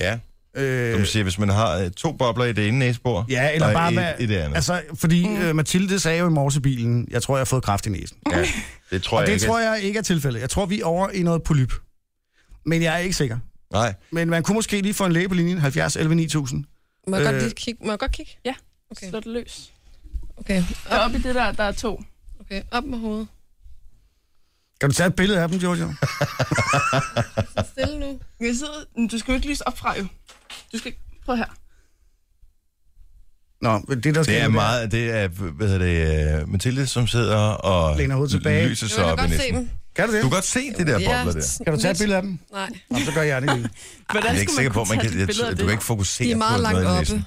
S1: ja,
S4: øh,
S1: som siger, hvis man har øh, to bobler i det ene næsebor,
S4: ja, eller
S1: og
S4: bare
S1: et
S4: med,
S1: i det andet. Altså,
S4: altså, fordi
S3: Mm.
S4: øh, Mathilde sagde jo i morges i bilen, jeg tror, jeg har fået kraft i næsen.
S1: ja, det tror
S4: Og
S1: jeg
S4: det
S1: ikke.
S4: tror jeg ikke er tilfældet. Jeg tror, vi er over i noget polyp. Men jeg er ikke sikker.
S1: Nej,
S4: Men man kunne måske lige få en læge på linjen, 70 11 9000.
S3: se. Må jeg godt
S4: Øh.
S3: lige kigge? Må jeg godt kigge?
S8: Ja.
S3: Okay.
S8: Okay. Slå det løs.
S3: Okay.
S8: Og oppe i det der, der er to.
S3: okay. Op med hovedet.
S4: Kan du tage et billede af dem, Jojo?
S3: Stille nu.
S8: Jeg sidder... Du skal jo ikke lyse op fra, jo. Du skal ikke... Prøv her.
S4: Nå, det der sker...
S1: Det er
S4: nu,
S1: meget, det er, hvad hedder det, uh, Mathilde, som sidder og
S4: Læner hovedet tilbage.
S1: lyser
S3: Jo,
S1: sig
S3: jeg
S1: op
S3: kan
S1: i
S3: godt se
S1: næsten.
S3: dem.
S4: Kan du det?
S1: Du kan godt se det der
S3: Ja,
S1: bobler der.
S4: Kan du tage et
S3: lidt.
S4: billede af dem?
S3: Nej,
S4: Nå, så gør jeg det lige.
S8: Hvordan
S1: Jeg er ikke
S8: skulle
S1: sikker på,
S8: kunne
S1: man kan,
S8: tage et
S1: jeg,
S8: billede af
S1: du
S8: det?
S1: kan ikke fokusere
S3: de er meget
S1: på
S3: langt
S1: noget i
S3: oppe. Altså-
S1: næsen.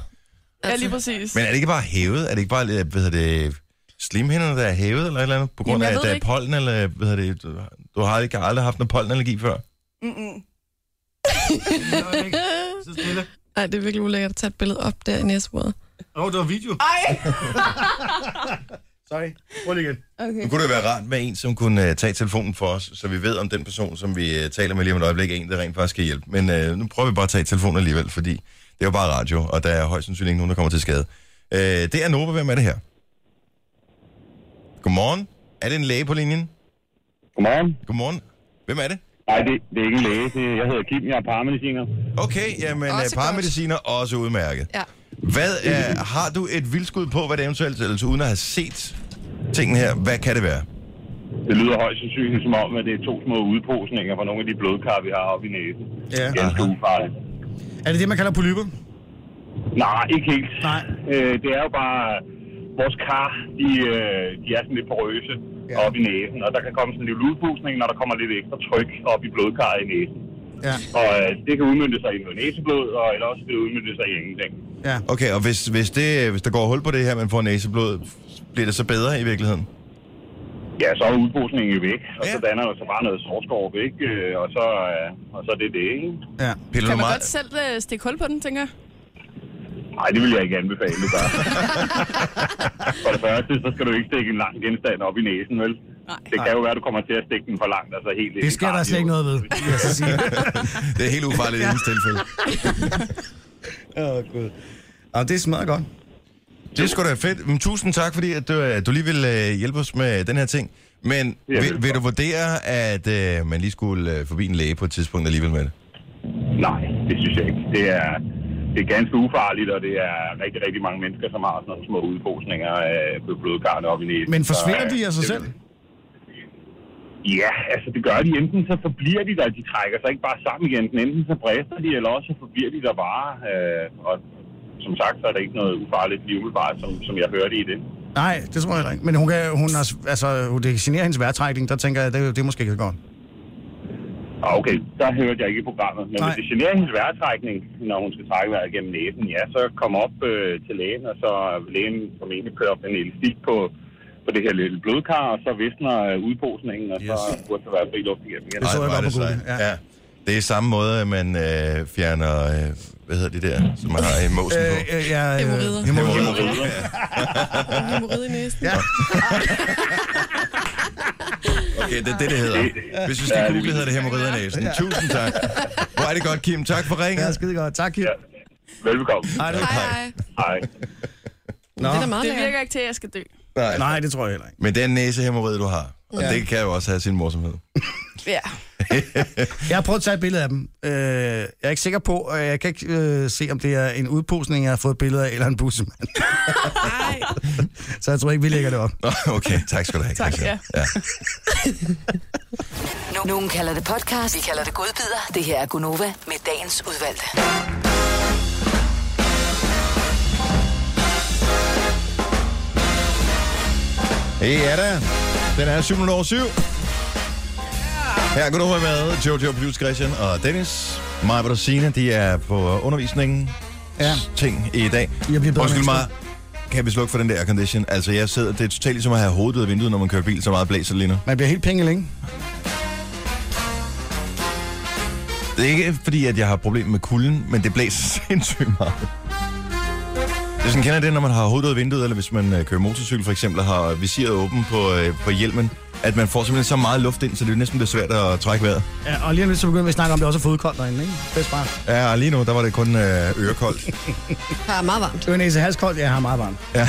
S8: Ja, lige præcis.
S1: Men er det ikke bare hævet? Er det ikke bare, øh, hvad hedder det, slimhinderne, der er hævet eller et eller andet? På grund
S8: Jamen, jeg
S1: af,
S8: ved
S1: at der er
S8: ikke.
S1: pollen, eller hvad hedder det, du, du har ikke aldrig haft en pollenallergi før?
S8: Mm-mm.
S3: Nej, det er virkelig ulækkert at tage et billede op der i næsbordet.
S4: Åh, oh, det var video.
S8: Ej!
S4: Sorry. Prøv lige igen.
S1: Nu kunne det være rart med en, som kunne uh, tage telefonen for os, så vi ved, om den person, som vi uh, taler med lige om et øjeblik, er en, der rent faktisk kan hjælpe. Men uh, nu prøver vi bare at tage telefonen alligevel, fordi det er jo bare radio, og der er højst sandsynligt ikke nogen, der kommer til skade. Uh, det er Nova, hvem er det her? Godmorgen. Er det en læge på linjen?
S10: Godmorgen.
S1: Godmorgen. Hvem er det?
S10: Nej, det, det er ikke en læge. Det, jeg hedder Kim, jeg er paramediciner.
S1: Okay, jamen
S3: Også
S1: også
S3: godt.
S1: paramediciner også udmærket.
S3: Ja.
S1: Hvad er, har du et vildskud på, hvad det eventuelt, altså uden at have set tingene her, hvad kan det være?
S10: Det lyder højst sandsynligt som om, at det er to små udposninger fra nogle af de blodkar, vi har oppe i næsen.
S4: Ja.
S10: Ganske
S1: Aha.
S10: ufarligt.
S4: Er det det, man kalder polyper?
S10: Nej, ikke helt.
S4: Nej.
S10: Øh, det er jo bare, vores kar, de, øh, de er sådan lidt porøse
S4: Ja.
S10: ja. oppe i næsen, og der kan komme sådan en lille udpusning, når der kommer lidt ekstra tryk op i blodkarret i næsen.
S4: Ja.
S10: Og øh, det kan udmynde sig i noget næseblod, og eller også det udmynde sig i ingenting.
S4: Ja.
S1: Okay, og hvis, hvis, det, hvis der går hul på det her, man får næseblod, bliver det så bedre i virkeligheden?
S10: Ja, så er udposningen jo væk, og
S1: Ja.
S10: ja. så danner der så bare noget sårskorp, ikke? Øh, Og så, øh, og så er det det, ikke?
S4: Ja.
S1: Piller
S8: Kan
S1: du
S8: man
S1: meget,
S8: godt selv øh, stikke hul på den, tænker jeg?
S10: Nej, det vil jeg ikke anbefale, du gør. for det første, så skal du ikke stikke en lang genstand op i næsen, vel?
S8: Nej.
S10: Det kan jo være, at du kommer til at stikke den for langt, altså helt ind
S4: Det
S10: i
S4: sker der
S10: kraniet.
S4: slet ikke noget ved, vil jeg så sige.
S1: det er helt ufarligt i hendes tilfælde.
S4: Åh, oh, gud. Og det smager godt.
S1: Det er sgu da fedt. Men, tusind tak, fordi at du, øh, du lige vil øh, hjælpe os med den her ting. Men
S10: Ja,
S1: vil, vil du vurdere, at øh, man lige skulle øh, forbi en læge på et tidspunkt alligevel med det?
S10: Nej, det synes jeg ikke. Det er, det er ganske ufarligt, og det er rigtig, rigtig mange mennesker, som har sådan nogle små udposninger øh, på blodkarrene op i næsen.
S4: Men forsvinder
S10: Så, øh,
S4: de af sig
S10: det-
S4: selv?
S10: Ja, altså det gør de. Enten så forbliver de der, de trækker sig ikke bare sammen igen. Men Enten så brister de, eller også så forbliver de der bare. Øh, og som sagt, så er der ikke noget ufarligt lige umiddelbart, som, som jeg hørte i det.
S4: Nej, det tror jeg heller ikke. Men hun kan, hun har, altså, hun- det kan genere hendes vejrtrækning, der tænker jeg, det, det er måske ikke så godt.
S10: Ah, Okay, der hørte jeg ikke i programmet. Men
S4: Nej.
S10: hvis det generer hendes vejrtrækning, når hun skal trække vejret gennem næsen, ja, så kom op øh, til lægen, og så vil lægen formentlig kører op en elastik på, på det her lille blodkar, og så visner øh, udposningen, og yes. så
S4: Yes.
S10: burde der være fri luft igennem igen.
S4: Det så jeg
S1: hvor er
S4: godt på
S1: sejt.
S4: Google, ja.
S1: ja. Det er samme måde, at man øh, fjerner, øh, hvad hedder det der, som man har i måsen på.
S4: Øh, øh, ja, øh,
S3: Hæmorider.
S4: hæmorider.
S1: Hæmorider.
S3: En hemorrid i næsen.
S4: Ja.
S1: Okay, det er det, det hedder. Hvis vi skal google, hedder det hemorrider i næsen. Tusind tak. Hvor er det godt, Kim. Tak for
S4: Ja,
S1: ringet.
S4: skide godt. Tak, Kim.
S10: Ja. Velbekomme.
S4: Ej, det,
S3: Hej, hej.
S10: Hej.
S4: Nå.
S3: Det er da meget
S8: Det
S3: lækkert.
S8: virker ikke til, at jeg skal dø.
S4: Nej, det tror jeg heller ikke.
S1: Men det er en næsehemorrid, du har. Og
S4: Ja.
S1: det kan jo også have sin morsomhed.
S8: Ja.
S4: Jeg har prøvet at tage et billede af dem. Øh, jeg er ikke sikker på, og jeg kan ikke øh, se, om det er en udposning, jeg har fået billeder af, eller en bussemand.
S8: Nej.
S4: Så jeg tror ikke, vi lægger det op.
S1: Nå, Okay, tak skal du have.
S8: Tak,
S1: Christian.
S8: ja.
S9: No- Nogen kalder det podcast, vi kalder det godbider. Det her er Gunova med dagens udvalgte.
S1: Ja da. Den er 7 over 7. Her kan du være med Jojo Plus Christian og Dennis. Maja og Signe, de er på undervisningen.
S4: Ja.
S1: Ting i dag.
S4: Jeg bliver bedre
S1: Undskyld
S4: mennesker.
S1: mig. Kan vi slukke for den der aircondition? Altså, jeg sidder, det er totalt ligesom at have hovedet ud af vinduet, når man kører bil, så meget blæser det lige nu.
S4: Man bliver helt penge længe.
S1: Det er ikke fordi, at jeg har problemer med kulden, men det blæser sindssygt meget. Det er sådan, kender I det, når man har hovedet ud af vinduet, eller hvis man øh, kører motorcykel for eksempel, og har visiret åben på, øh, på hjelmen, at man får simpelthen så meget luft ind, så det næsten bliver svært at trække vejret.
S4: Ja, og lige om lidt, så begynder vi at snakke om, at det også er fodkoldt derinde, ikke? Det er smart.
S1: Ja, og lige nu, der var det kun øh, ørekoldt.
S3: Det er meget varmt.
S4: Ørenæse halskoldt, ja, jeg har meget varmt.
S1: Ja.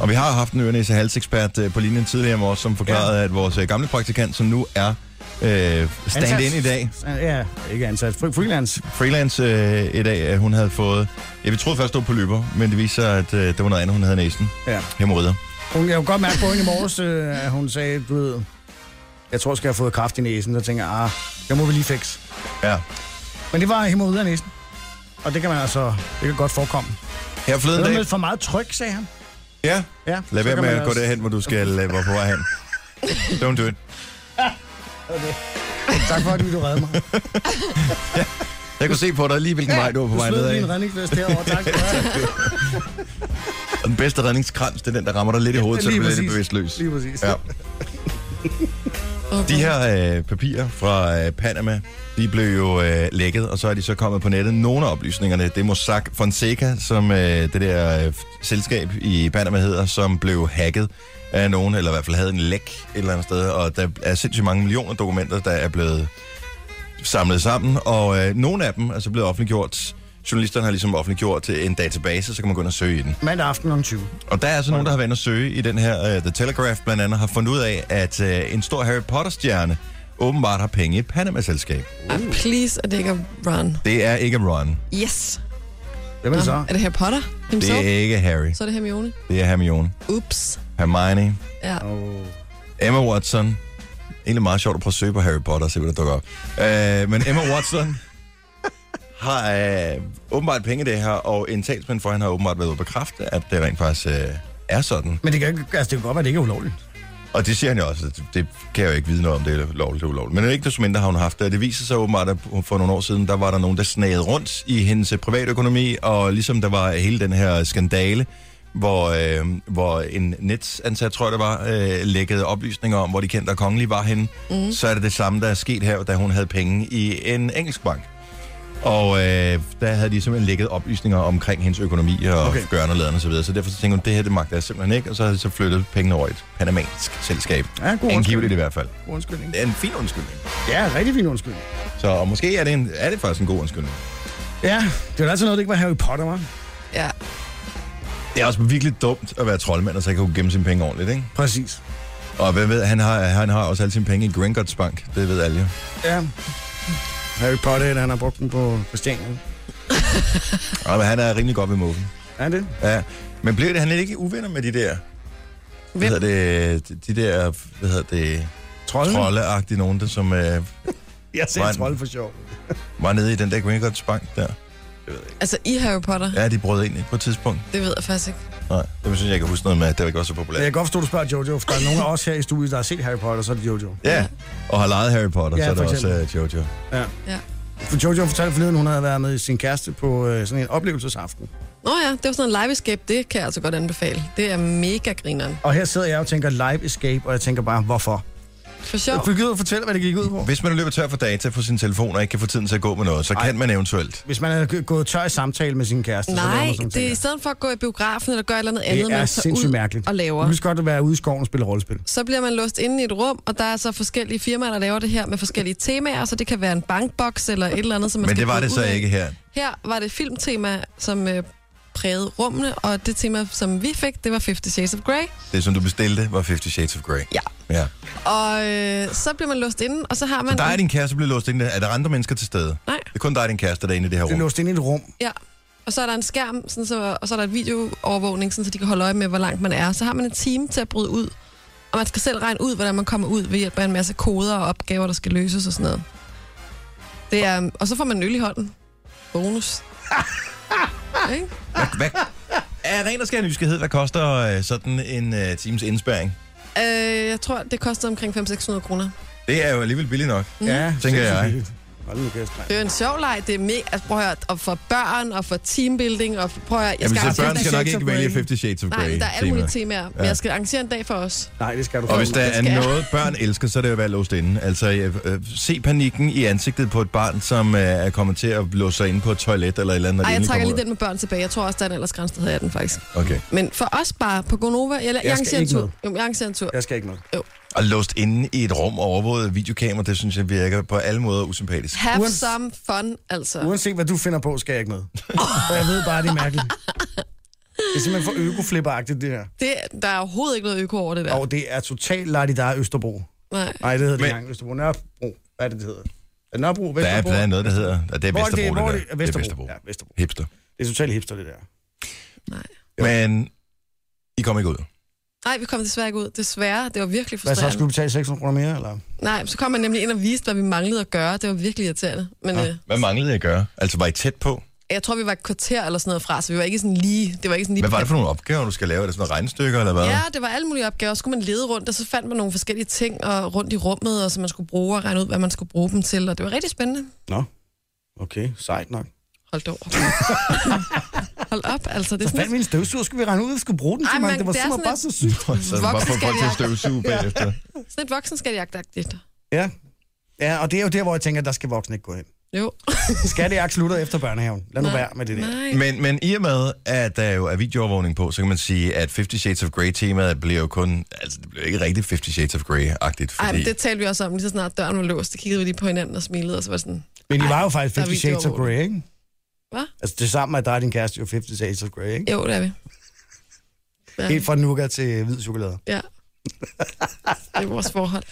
S1: Og vi har haft en ørenæse halsekspert øh, på linjen tidligere om os, som forklarede, ja. at vores øh, gamle praktikant, som nu er øh, stand-in i dag,
S4: Altså, Ja, ikke ansat. Fre- Freelance.
S1: freelance øh, i dag, at hun havde fået... Ja, vi troede først, det var på løber, men det viser sig, at øh, det var noget andet, hun havde i næsen.
S4: Ja.
S1: Hemorrider.
S4: Hun, jeg kunne godt mærke på hende i morges, øh, at hun sagde, du ved, jeg tror, skal jeg have fået kraft i næsen. Så tænker jeg, ah, jeg må vi lige fikse.
S1: Ja.
S4: Men det var hemorrider i næsen. Og det kan man altså, det kan godt forekomme.
S1: Her
S4: Det
S1: forleden
S4: var
S1: dag.
S4: med for meget tryk, sagde han.
S1: Ja.
S4: Ja,
S1: Lad
S4: så
S1: være
S4: kan
S1: med
S4: man
S1: at gå
S4: også-
S1: derhen, hvor du skal, øh, hvor på vej hen. Don't do it.
S4: Tak for, at du reddede mig.
S1: Jeg kunne se på dig lige, hvilken vej du var på
S4: Du
S1: vej
S4: smed
S1: nedad.
S4: lige en redningsvest herovre, tak for det.
S1: Og den bedste redningskrans, det er den, der rammer dig lidt i hovedet, så du
S4: lige
S1: bliver lidt
S4: præcis.
S1: bevidstløs.
S4: Lige præcis.
S1: Ja. De her øh, papirer fra øh, Panama, de blev jo øh, lækket, og så er de så kommet på nettet. Nogle af oplysningerne, det er Mossack Fonseca, som øh, det der øh, selskab i Panama hedder, som blev hacket af nogen, eller i hvert fald havde en læk et eller andet sted, og der er sindssygt mange millioner dokumenter, der er blevet samlet sammen, og øh, nogle af dem er så blevet offentliggjort. Journalisterne har ligesom offentliggjort øh, en database, så kan man gå ind og søge i den.
S4: Mandag aften kl. 20.
S1: Og der er altså nogen, der har været inde og søge i den her, uh, The Telegraph blandt andet, har fundet ud af, at uh, en stor Harry Potter-stjerne åbenbart har penge i et Panama-selskab.
S3: Ah, please, er det ikke Ron?
S1: Det er ikke Ron.
S3: Yes.
S4: Hvem er det så?
S3: Ah, Er det Harry Potter?
S1: Det
S3: Himself?
S1: er
S3: Det...
S1: ikke Harry.
S3: Så er det Hermione.
S1: Det er Hermione.
S3: Ups.
S1: Hermione. Oh.
S3: Ja.
S1: Emma Watson. Egentlig meget sjovt at prøve at søge på Harry Potter og se, hvad der dukker op. Uh, men Emma Watson har øh, åbenbart penge i det her, og en talsmand for hende har åbenbart været ude at bekræfte, at det rent faktisk øh, er sådan.
S4: Men det kan, ikke- altså, det kan godt være, at det ikke er ulovligt.
S1: Og det siger han jo også, at det kan jeg jo ikke vide noget om, det er lovligt eller ulovligt. Men ikke desto mindre har hun haft det. Og Det viser sig åbenbart, at for nogle år siden, der var der nogen, der snagede rundt i hendes øh, privatøkonomi, og ligesom der var hele den her skandale, hvor, øh, hvor en netansat, tror jeg det var, øh, lækkede oplysninger om, hvor de kendte og kongelige var henne, mm. så er det det samme, der er sket her, da hun havde penge i en engelsk bank. Og øh, der havde de simpelthen lækket oplysninger omkring hendes økonomi og okay. gørne og laderne osv. Så, videre. så derfor så tænkte hun, det her det magter jeg simpelthen ikke. Og så havde de så flyttet pengene over i et panamansk selskab.
S4: Ja, god
S1: Angiveligt i
S4: undskyldning.
S1: hvert fald.
S4: God undskyldning.
S1: Det er en fin undskyldning.
S4: Ja, rigtig fin undskyldning.
S1: Så og måske er det, en, er det faktisk en god undskyldning.
S4: Ja, det var da altid noget, det ikke var Harry Potter, var.
S3: Ja.
S1: Det er også virkelig dumt at være troldmand, og så ikke kunne gemme sine penge ordentligt, ikke?
S4: Præcis.
S1: Og hvad ved, han har, han har også alle sine penge i Gringotts Bank. Det ved alle jo.
S4: Ja. Harry Potter, han har brugt den på Christiania.
S1: Og men han er rimelig godt ved muffen.
S4: Er det?
S1: Ja. Men blev det, han er ikke uvenner med de der... Hvad
S3: Hvem?
S1: hedder det? De der... Hvad hedder det?
S4: Trolde?
S1: Trolleagtige nogen, der som... Øh,
S4: Jeg
S1: Var
S4: sagde
S1: en-
S4: trolde for sjov.
S1: var nede i den der Gringotts bank der.
S3: Altså i Harry Potter, ja.
S1: Ja, de brød ind i på et tidspunkt.
S3: det ved jeg faktisk ikke.
S1: Nej, det synes jeg, jeg kan huske noget med, at det var ikke også så populært.
S4: Men jeg kan godt forstå, at du spørger Jojo, for der er nogen af os her i studiet, der har set Harry Potter, så er det Jojo.
S1: Ja, og har lejet Harry Potter,
S4: Ja,
S1: ja, så er det også
S4: for
S1: uh, Jojo.
S4: For Jojo fortalte forleden, hun havde været med sin kæreste på øh, sådan en oplevelsesaften.
S3: Nå ja, det var sådan en live escape, det kan jeg altså godt anbefale. Det er mega grineren.
S4: Og her sidder jeg og tænker live escape, og jeg tænker bare, hvorfor?
S3: For sjov.
S4: Jeg fik ud og fortælle, hvad det gik ud på.
S1: Hvis man løber tør for data på sin telefon og ikke kan få tiden til at gå med noget, så kan man eventuelt.
S4: Hvis man er g- gået tør i samtale med sin kæreste, så laver
S3: Nej,
S4: man sådan
S3: det er i
S4: ting.
S3: stedet for at gå i biografen eller gøre et eller andet andet,
S4: det er
S3: man tager
S4: sindssygt
S3: ud
S4: mærkeligt.
S3: og laver.
S4: Du kan så godt være ude i skoven og spille rollespil.
S3: Så bliver man låst inde i et rum, og der er så forskellige firmaer, der laver det her med forskellige temaer, så det kan være en bankboks eller et eller andet, som man
S1: Men
S3: skal
S1: det var
S3: finde
S1: det
S3: ud
S1: så
S3: af.
S1: ikke her.
S3: Her var det et filmtema, som øh, prægede rummene, og det tema, som vi fik, det var 50 Shades of Grey.
S1: Det, som du bestilte, var 50 Shades of Grey.
S3: Ja.
S1: ja.
S3: Og øh, så bliver man låst inde, og så har man...
S1: Så dig og din kæreste blev låst inde. Er der andre mennesker til stede?
S3: Nej.
S1: Det er kun dig og din kæreste, der er inde i det her
S4: Det er
S1: rum.
S4: låst inde i et rum.
S3: Ja, og så er der en skærm, sådan så, og så er der et videoovervågning, sådan så de kan holde øje med, hvor langt man er. Så har man en time til at bryde ud, og man skal selv regne ud, hvordan man kommer ud ved hjælp af en masse koder og opgaver, der skal løses og sådan noget. Det er, og så får man en øl i hånden. Bonus. Ikke?
S1: Hvad? Er ren og skær nysgerrighed, hvad koster øh, sådan en øh, times indspæring?
S3: øh, jeg tror, det koster omkring 500-600 kroner.
S1: Det er jo alligevel billigt nok.
S4: Ja,
S1: tænker jeg.
S4: sindssygt. Hold nu kæft, mand.
S3: Det er jo en sjov leg. Det er mega, altså, prøv at høre, og for børn, og for teambuilding, og for, prøv at høre, jeg
S1: Jamen,
S3: skal
S1: så børn
S3: arrangere-
S1: skal nok
S4: Shades
S1: ikke
S4: of Grey.
S1: vælge 50 Shades of Grey.
S3: Nej, der er alle mulige temaer, men
S1: Ja.
S3: jeg skal arrangere en dag for os.
S4: Nej, det skal du
S1: Og
S4: fandme.
S1: hvis der er
S3: skal jeg.
S1: noget, børn elsker, så er det jo at være låst inde. Altså, øh, øh, se panikken i ansigtet på et barn, som øh, er kommet til at låse sig inde på et toilet eller et eller andet. når de
S3: Ej, jeg
S1: endelig
S3: trækker
S1: kommer
S3: lige den med børn tilbage. Jeg tror også, der er en aldersgrænse, der hedder 18, faktisk.
S1: ud. Okay.
S3: Men for os bare på Gonova, jeg, jeg, jeg
S4: skal
S3: arrangerer en
S4: ikke
S3: tur.
S4: med.
S3: Jo, jeg arrangerer en tur.
S4: Jeg skal ikke noget.
S1: Og låst inde i et rum overvåget af videokamera, det synes jeg virker på alle måder usympatisk.
S3: Have
S4: Uans-
S3: some fun, altså.
S4: Uanset hvad du finder på, skal jeg ikke med. For jeg ved bare, det er mærkeligt. Det er simpelthen for økoflipperagtigt, det her.
S3: Det, der er overhovedet ikke noget øko over det der.
S4: Og det er totalt lardidar Østerbro.
S3: Nej.
S4: Nej, det hedder det
S1: Men-
S4: ikke engang Østerbro. Nørrebro. Hvad er det, det hedder? Er det Nørrebro?
S1: Der er
S4: Vesterbro?
S1: blandt andet noget, der hedder... Og det er
S4: Hvor er det-
S1: Vesterbro, det,
S4: hvor er
S1: der.
S4: det-
S1: det er
S4: Vesterbro.
S1: Vesterbro.
S4: Ja, Vesterbro.
S1: Hipster.
S4: Det er totalt hipster, det der.
S1: Men I kommer ikke ud.
S3: Nej, vi kom desværre ikke ud. Desværre, det var
S4: Hvad
S3: virkelig
S4: så?
S3: frustrerende.
S4: Skulle du betale 600 kroner mere, eller?
S3: Nej, så kom man nemlig ind og viste, hvad vi manglede at gøre. Det var virkelig irriterende. Men, ja. øh,
S1: Hvad manglede jeg at gøre? Altså, var I tæt på?
S3: Jeg tror, vi var et kvarter eller sådan noget fra, så vi var ikke sådan lige... Det var ikke sådan lige
S1: Hvad var det for nogle opgaver, du skal lave? Er det sådan nogle regnstykker, eller hvad?
S3: Ja, det var alle mulige opgaver. Så skulle man lede rundt, og så fandt man nogle forskellige ting og rundt i rummet, og så man skulle bruge og regne ud, hvad man skulle bruge dem til. Og det var rigtig spændende.
S4: Nå, okay, sejt nok.
S3: Hold da op. Hold op, altså. Det er
S4: Så fandt
S3: sådan,
S4: vi en støvsuger, skulle vi regne ud, at vi skulle bruge den
S3: Ej,
S4: til mig.
S3: men
S4: Det var
S3: det er
S4: simpelthen
S3: sådan
S4: bare så sygt.
S1: Så er det bare for folk til at støvsuge bagefter.
S3: sådan et voksenskattejagtagtigt.
S4: Ja. ja, og det er jo der, hvor jeg tænker, at der skal voksne ikke gå hen.
S3: Jo.
S4: Skattejagt slutter efter børnehaven. Lad nu være med det der.
S3: Nej.
S1: Men, men i og med, at der jo er videoovervågning på, så kan man sige, at 50 Shades of Grey-temaet bliver jo kun... Altså, det bliver ikke rigtig 50 Shades of Grey-agtigt, fordi...
S3: Ej, men det talte vi også om, lige så snart døren var låst. Der kiggede vi lige på hinanden og smilede, og så var det sådan...
S4: Men I var jo faktisk
S3: der er
S4: 50 Shades of
S3: videoovervågning.
S4: Grey, ikke?
S3: Hvad?
S4: Altså, det sammen med dig og din kæreste er jo 50 Shades of Grey, ikke?
S3: Jo, det er vi. Ja,
S4: Helt fra nougat til hvid chokolade.
S3: ja. Det er vores forhold.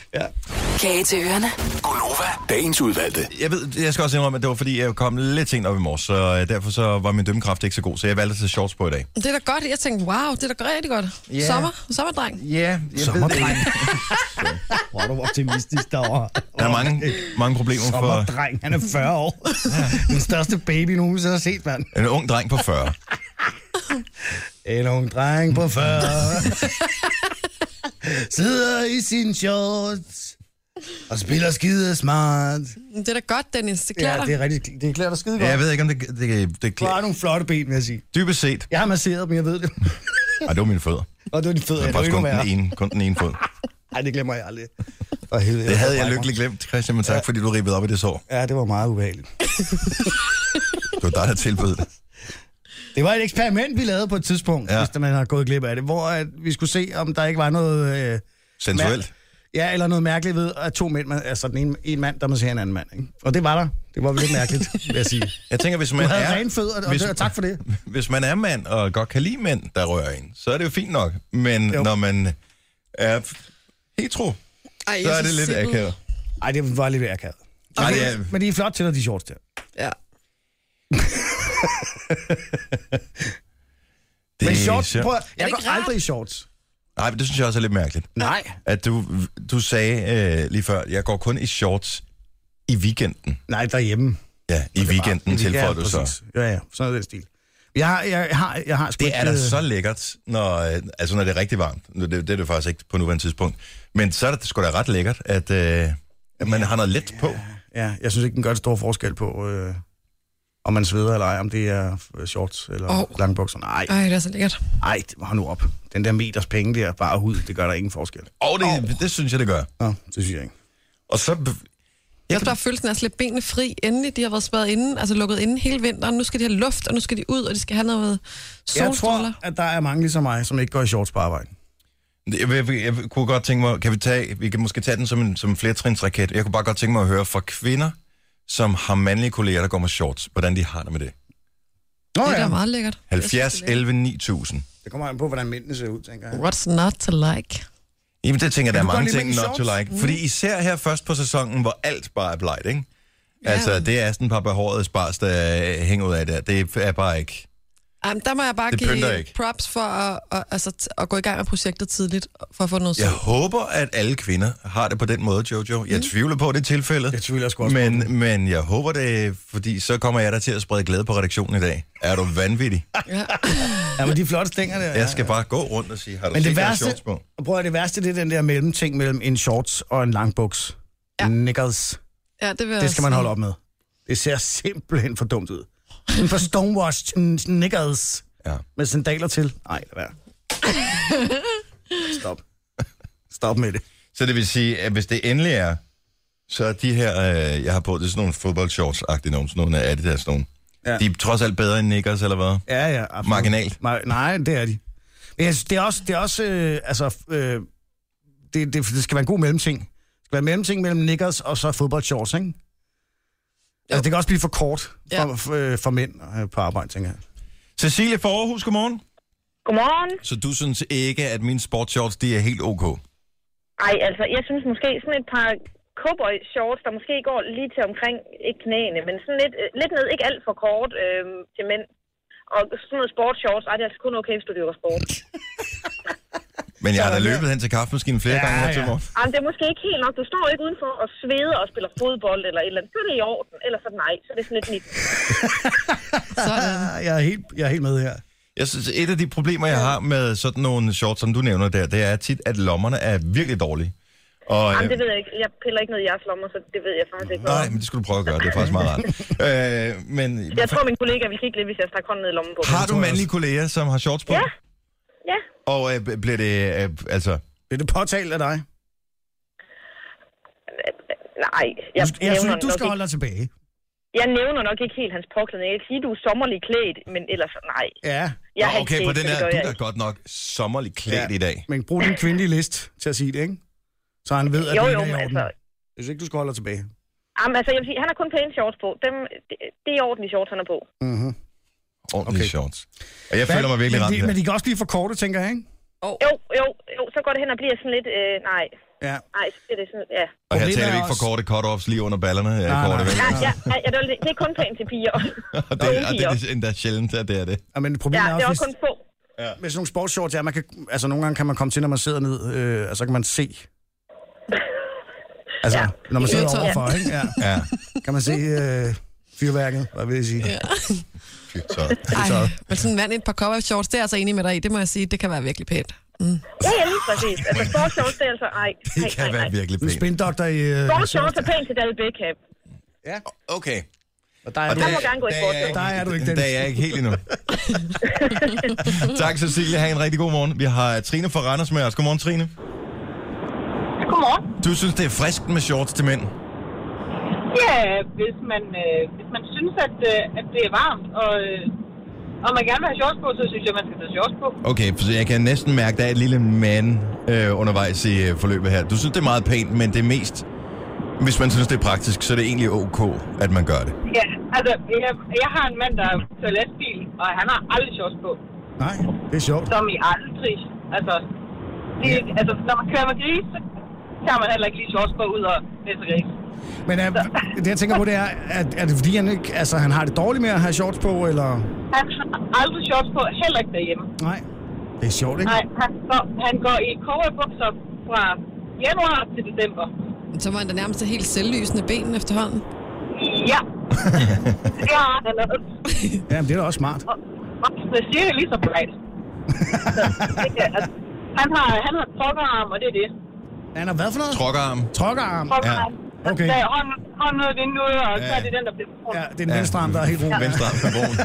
S9: Kage til ørerne.
S11: Gonova, dagens udvalgte.
S1: Jeg ved, jeg skal også indrømme, at det var fordi, jeg kom lidt sent op i morges, så øh, derfor så var min dømmekraft ikke så god, så jeg valgte at tage shorts på i dag.
S3: Det er da godt. Jeg tænkte, wow, det er da rigtig godt.
S4: Ja.
S3: Sommer, sommerdreng.
S4: Ja, jeg Sommerdreng. Hvor er du optimistisk derovre.
S1: Der er mange, mange problemer for
S4: Sommerdreng, han er 40 år. Den største baby nogensinde har set, mand.
S1: en ung dreng på 40.
S4: En ung dreng på 40 sidder i sin shorts og spiller skide smart.
S3: Det er da godt, Dennis. Det klæder
S4: Ja, det
S3: dig.
S4: er rigtigt. Det klæder dig skide
S1: Ja,
S4: godt.
S1: jeg
S4: Ja,
S1: ved ikke, om det, det, det
S4: du har
S1: klæder.
S4: nogle flotte ben, vil jeg sige.
S1: Dybest set.
S4: Jeg har masseret dem, jeg ved det.
S1: Ej, det var mine fødder.
S4: Og det var de fede,
S1: Det var faktisk
S4: jeg ikke
S1: kun den
S4: være.
S1: ene, kun den ene fod.
S4: Nej, det glemmer jeg aldrig. For helvede,
S1: Det havde jeg
S4: brækker.
S1: lykkeligt glemt, Christian, men tak, fordi du ribbede op i det sår.
S4: Ja, det var meget ubehageligt.
S1: Det var dig, der tilbød det.
S4: Det var et eksperiment, vi lavede på et tidspunkt,
S1: Ja.
S4: ja. hvis man har gået glip af det, hvor at vi skulle se, om der ikke var noget... Øh,
S1: Sensuelt.
S4: Ja, eller noget mærkeligt ved, at to mænd, man- altså den ene, en mand, der masserer en anden mand. Ikke? Og det var der. Det var lidt mærkeligt, vil jeg sige.
S1: Jeg tænker, hvis
S4: Du
S1: man
S4: havde
S1: er...
S4: rene fødder, og,
S1: hvis-
S4: det, og tak for det.
S1: hvis man er mand og godt kan lide mænd, der rører en, så er det jo fint nok. Men jo.
S4: Jo.
S1: når man er hetero,
S3: Ej, jeg
S1: så er det
S3: synes
S1: lidt
S3: simpelthen-
S1: akavet.
S4: Ej, det var lidt akavet.
S1: Ej,
S4: Men,
S1: det er-
S4: men de er flot til, at de er shorts der.
S3: Ja.
S1: Det
S4: Men
S1: er
S4: shorts,
S1: sjovt.
S4: prøv, at- jeg
S3: ikke
S4: går
S3: rart?
S4: aldrig i shorts.
S1: Nej, men det synes jeg også er lidt mærkeligt.
S4: Nej.
S1: At du, du sagde øh, lige før, jeg går kun i shorts i weekenden.
S4: Nej, derhjemme.
S1: Ja, i weekenden tilføjer du så.
S4: præcis. Ja, ja, sådan er den stil. Jeg har, jeg har, jeg har sgu
S1: Det er
S4: ikke,
S1: da
S4: øh,
S1: så lækkert, når, øh, altså når det er rigtig varmt. Nu, Det, det er det faktisk ikke på nuværende tidspunkt. Men så er det sgu da ret lækkert, at, øh, at man har noget let på.
S4: Ja, jeg synes ikke, den gør en stor forskel på, øh, om man sveder eller ej, om det er øh, shorts eller
S3: Åh.
S4: oh. langbukser. Nej,
S3: Ej, det er så lækkert.
S4: nej, hold nu op. Den der meters penge der, bare hud, det gør der ingen forskel.
S1: Og det, det synes jeg, det gør.
S4: Nå, det synes jeg ikke.
S1: Og så
S3: Jeg kan bare følelsen af at slippe benene fri. Endelig, de har været spadet inde, altså lukket inde hele vinteren. Nu skal de have luft, og nu skal de ud, og de skal have noget
S4: Jeg
S3: solstråler.
S4: tror, at der er mange ligesom mig, som ikke går i shorts på arbejde.
S1: Jeg, jeg, jeg kunne godt tænke mig, kan vi tage, vi kan måske tage den som en som en flertrinsraket. Jeg kunne bare godt tænke mig at høre fra kvinder, som har mandlige kolleger, der går med shorts, hvordan de har det med det.
S4: Nå
S3: Det er da
S4: ja,
S3: meget lækkert.
S1: 70, 11, 9000.
S4: det kommer an på, hvordan mændene ser ud, tænker jeg.
S3: What's not to like?
S1: Jamen, det tænker jeg, der er mange
S4: Jeg kunne godt lide
S1: ting
S4: mænd i
S1: not to
S4: shorts. Mm.
S1: like. Fordi især her først på sæsonen, hvor alt bare er blejt, ikke? Altså,
S3: Ja.
S1: det er sådan et par behårede spars, der øh, hænger ud af der. Det er bare ikke...
S3: Jamen, der må jeg bare
S1: Det pynter
S3: give
S1: ikke.
S3: props for at, at, altså, t- at gå i gang med projektet tidligt, for at få noget
S1: Jeg
S3: sol.
S1: håber, at alle kvinder har det på den måde, Jojo. Jeg tvivler på at det er tilfældet.
S4: Jeg tvivler sgu også på
S1: men, men jeg håber det, fordi så kommer jeg der til at sprede glæde på redaktionen i dag. Er du vanvittig?
S3: Ja.
S4: Ja, men de flotte stænger der.
S1: Jeg skal bare gå rundt og sige, har du
S4: Men
S1: set
S4: det
S1: der er
S4: værste,
S1: shorts på?
S4: og prøv at det værste, det er den der mellemting mellem en shorts og en lang buks.
S3: Ja.
S4: Ja. Knickers.
S3: ja, det, vil jeg
S4: Det skal man
S3: sige.
S4: holde op med. Det ser simpelthen for dumt ud. En for stonewashed kn- knickers
S1: Ja.
S4: med sandaler til. Nej, lad være. Stop. Stop med det.
S1: Så det vil sige, at hvis det endelig er, så er de her, øh, jeg har på, det er sådan nogle fodboldshorts-agtige nogen, sådan nogle af Adidas nogen. Ja.
S4: Ja.
S1: De er trods alt bedre end Nickers, eller hvad?
S4: Ja, ja. Absolut.
S1: Marginalt.
S4: Mar- nej, det er de. Men jeg synes, det er også, det er også øh, altså, øh, det, det, det, skal være en god mellemting. Det skal være en mellemting mellem knickers og så fodboldshorts, ikke? Altså, det kan også blive for kort for,
S3: Ja.
S4: ja. for, øh, for mænd øh, på arbejde, tænker jeg.
S1: Cecilie fra Aarhus, godmorgen.
S12: Godmorgen.
S1: Så du synes ikke, at mine sportsshorts, de er helt ok?
S12: Ej, altså, jeg synes måske sådan et par cowboy shorts, der måske går lige til omkring, ikke knæene, men sådan lidt, øh, lidt ned, ikke alt for kort øh, til mænd. Og sådan noget sportshorts, ej, det er altså kun okay, hvis du dyrker sport.
S1: Men jeg har da løbet hen til kaffemaskinen flere ja, gange her til morgen.
S12: Jamen, det er måske ikke helt nok. Du står ikke udenfor og sveder og spiller fodbold eller et eller andet. Så er det i orden, eller så nej. Så er det sådan lidt nit.
S4: Jeg er helt, jeg er helt med her.
S1: Jeg synes, et af de problemer, jeg har med sådan nogle shorts, som du nævner der, det er tit, at lommerne er virkelig dårlige. Og, øh,
S12: Jamen, det ved jeg ikke. Jeg piller ikke ned i jeres lommer, så det ved jeg faktisk ikke.
S1: Nej, men det skulle du prøve at gøre. Det er faktisk meget rart. øh, men
S12: Jeg tror, min kollega vil kigge lidt, hvis jeg stak hånden ned i lommen på.
S1: har du mandlige kolleger, som har shorts på?
S12: Ja. Ja.
S1: Og øh, bliver det, øh, altså...
S4: Bliver det påtalt af dig?
S12: Nej.
S4: Jeg, jeg
S12: nævner
S4: synes, du
S12: nok
S4: skal
S12: ikke-
S4: holde dig tilbage.
S12: Jeg nævner nok ikke helt hans påklædning. Jeg kan sige, du er sommerlig klædt, men ellers nej.
S4: Ja.
S12: Jeg
S1: Nå,
S12: har
S1: okay,
S12: ikke
S1: på
S12: set
S1: den her,
S12: det, det gør
S1: du
S12: jeg
S1: er da
S12: ikke.
S1: godt nok sommerlig klædt ja. i dag.
S4: Men brug din kvindelige list til at sige det, ikke? Så han ved, at
S12: Jo,
S4: det
S12: jo,
S4: ikke er i
S12: men
S4: orden.
S12: altså-
S4: Jeg synes ikke, du skal holde dig tilbage.
S12: Jamen, altså, jeg vil sige, han har kun pæne shorts på. Dem, det, det er ordentlige shorts, han er på.
S4: Mm-hmm.
S1: Ordentlige okay. shorts. Og jeg føler mig virkelig
S4: men
S1: ramt
S4: de,
S1: her.
S4: men de kan også blive for korte, tænker jeg, ikke?
S12: Oh. Jo, jo, jo, så går det hen og bliver sådan lidt, øh, nej,
S4: Ja.
S12: nej, så bliver det sådan, ja.
S1: Og her
S4: Problemet
S1: taler vi
S4: er
S1: ikke for
S4: også-
S1: korte cut-offs lige under ballerne. Ja,
S4: Nej,
S1: korte
S4: nej.
S1: vel?
S12: Nej, ja, nej, ja, det, er- det er kun pænt til piger.
S1: Og det, og det er endda sjældent, at det er det.
S4: Ja, men
S12: Ja,
S4: problemet
S12: det
S4: er
S12: er
S4: også,
S12: også kun få.
S1: Ja.
S4: med sådan nogle sportsshorts, ja, man kan, altså nogle gange kan man komme til, når man sidder ned, øh, og så kan man se. Altså, ja. når man sidder
S3: Ja.
S4: overfor, ikke? Ja.
S1: Ja,
S4: Kan man se øh, fyrværket, hvad vil jeg sige? Ja.
S1: fy, så.
S3: Ej, men sådan en mand i et par kopper shorts, det er jeg altså enig med dig i. Det må jeg sige, det kan være virkelig pænt.
S12: Ja, ja, lige præcis. Altså, sportsshorts, det er altså, nej, nej,
S1: Det
S12: nej,
S1: kan
S12: nej.
S1: være virkelig
S4: En
S1: pænt.
S4: spindoktor i... Øh,
S12: Sportsshorts er pænt til David Beckham.
S1: Okay.
S4: og der er
S1: Og
S4: du.
S12: må
S1: der-
S12: gerne gå i
S1: der
S12: sport,
S1: jeg
S4: Der er du ikke,
S1: Der
S4: Dennis.
S1: er jeg ikke helt endnu. tak, Cecilie. Ha' en rigtig god morgen. Vi har øh, Trine fra Randers med os. Godmorgen, Trine.
S13: Godmorgen.
S1: Du synes, det er frisk med shorts til mænd?
S13: Ja, hvis man, øh, hvis man synes, at, øh, at det er varmt, og, øh, og man gerne vil have shorts på, så synes jeg, man skal tage shorts på.
S1: Okay, for jeg kan næsten mærke, at der er et lille mand øh, undervejs i øh, forløbet her. Du synes, det er meget pænt, men det er mest... Hvis man synes, det er praktisk, så er det egentlig ok, at man gør det.
S13: Ja, altså, jeg, jeg har en mand, der kører lastbil, og han har aldrig shorts på.
S4: Nej, det er sjovt.
S13: Som i aldrig. Altså, det, altså når man kører med gris, så tager man heller ikke lige shorts på ud og læse gris.
S4: Men er, det, jeg tænker på, det er, at, er det fordi, han, ikke, altså, han har det dårligt med at have shorts på, eller...
S13: Han har aldrig shorts på, heller ikke derhjemme.
S4: Nej. Det er sjovt, ikke?
S13: Nej, han går, han går i cowboybukser fra januar til december.
S3: Så må han da nærmest have helt selvlysende ben efterhånden.
S13: Ja. ja, han er
S4: Jamen, det er da også smart.
S13: Det er cirka lige så bright. Så det kan- altså, han har, han har trokkerarm, og det er det.
S4: Han har hvad for noget?
S1: Trokkerarm.
S4: Trokkerarm.
S13: Trokkerarm. Ja.
S4: Okay.
S13: Okay. Så hånden, hånden ud af vinduet, og så
S1: Ja.
S13: er det den, der bliver brugt.
S4: Ja, det er den venstre arm, der er helt rundt.
S1: Venstre arm på broen.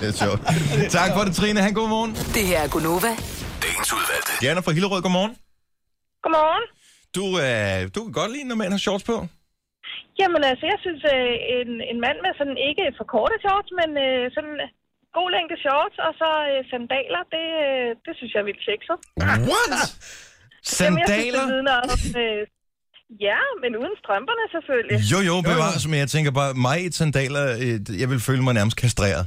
S1: det er sjovt. Tak for det, Trine. Ha' en god morgen.
S9: Det her er Gunova.
S11: Dagens udvalgte.
S1: Diana fra Hillerød, godmorgen.
S12: Godmorgen.
S1: Du, øh, du kan godt lide, når mænd har shorts på.
S12: Jamen altså, jeg synes, øh, en, en mand med sådan ikke for korte shorts, men øh, sådan god længde shorts og så øh, sandaler, det, øh, det synes jeg er vildt sexet.
S1: What?
S12: Jamen, jeg synes, det
S1: Sandaler?
S12: vidner om, øh, ja, men uden strømperne selvfølgelig.
S1: Jo, jo, bevares, men jeg tænker bare, mig i et sandaler, øh, jeg vil føle mig nærmest kastreret.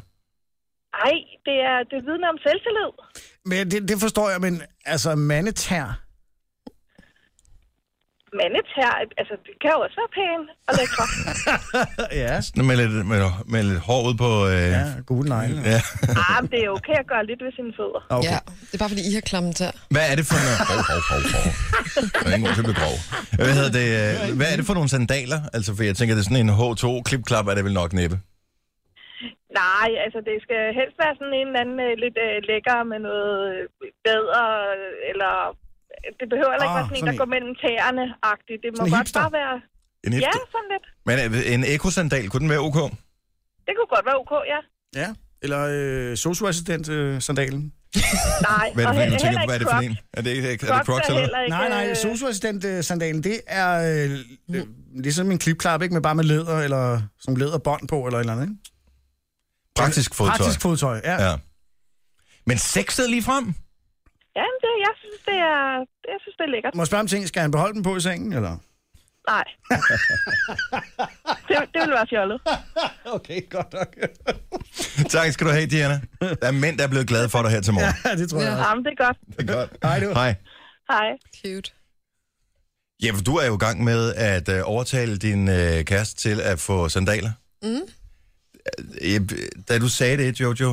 S12: Ej, det, er, det vidner om selvtillid.
S4: Men det, det forstår jeg, men altså mandetær.
S12: Mandetær, altså det kan jo også være pæn og lækre.
S4: ja.
S1: Sådan Med lidt, med, med lidt hår ud på... Øh, ja.
S4: Ja, gode negle.
S1: ja.
S12: Ej, men det er okay at gøre lidt ved sine fødder.
S1: Ah,
S4: Okay.
S3: Ja,
S4: Ja.
S3: det er bare fordi, I har klamme tær.
S1: Hvad er det for nogle... Hov, hov, hov, hov. Der er ingen grund til at blive grov. Hvad, hedder det, øh, hvad er det for nogle sandaler? Altså, for jeg tænker, det er sådan en H2-klipklap, er det vel nok næppe.
S12: Nej, altså det skal helst være sådan en eller anden øh, lidt øh, lækker med noget øh, bedre, eller øh, det behøver heller ikke
S4: Ah,
S12: være sådan en,
S4: sådan
S12: der
S4: en.
S12: går mellem tæerne-agtigt. Det må
S4: Sådan en
S12: godt
S4: hipster?
S12: bare være...
S1: En
S12: Ja,
S1: hipster.
S12: sådan lidt.
S1: Men øh, en ekosandal, kunne den være ok?
S12: Det kunne godt være ok, ja.
S4: ja. Eller øh, socioassistent-sandalen.
S12: Nej,
S1: Hvad er det for en, du tænker på? Hvad er det for
S12: Crocs.
S1: en? Er det, er det
S12: Crocs
S1: Crocs
S12: er
S1: eller
S12: heller
S1: hvad?
S4: Nej,
S12: ikke...
S4: nej,
S12: øh,
S4: socioassistent-sandalen, det er øh, øh, ligesom en klipklap, ikke? Med bare med læder eller sådan nogle læderbånd på, eller et eller andet, ikke?
S1: Praktisk fodtøj.
S4: Praktisk fodtøj, ja.
S1: Ja. Men sexet lige frem?
S12: Ja, men det, jeg synes, det er, det, jeg synes, det er lækkert.
S4: Må jeg spørge om ting, skal han beholde den på i sengen, eller?
S12: Nej. det, det ville være fjollet.
S4: Okay, godt nok.
S1: Tak skal du have, Diana. Der er mænd, der er blevet glade for dig her til morgen.
S4: ja, det tror jeg.
S3: Ja.
S4: Ja.
S12: Jamen, det er godt.
S1: Det er godt.
S4: Hej, du.
S1: Hej.
S12: Hej.
S3: Cute.
S1: Ja, for du er jo i gang med at øh, overtale din øh, kæreste til at få sandaler. Mm. Jeg, da du sagde det, Jojo,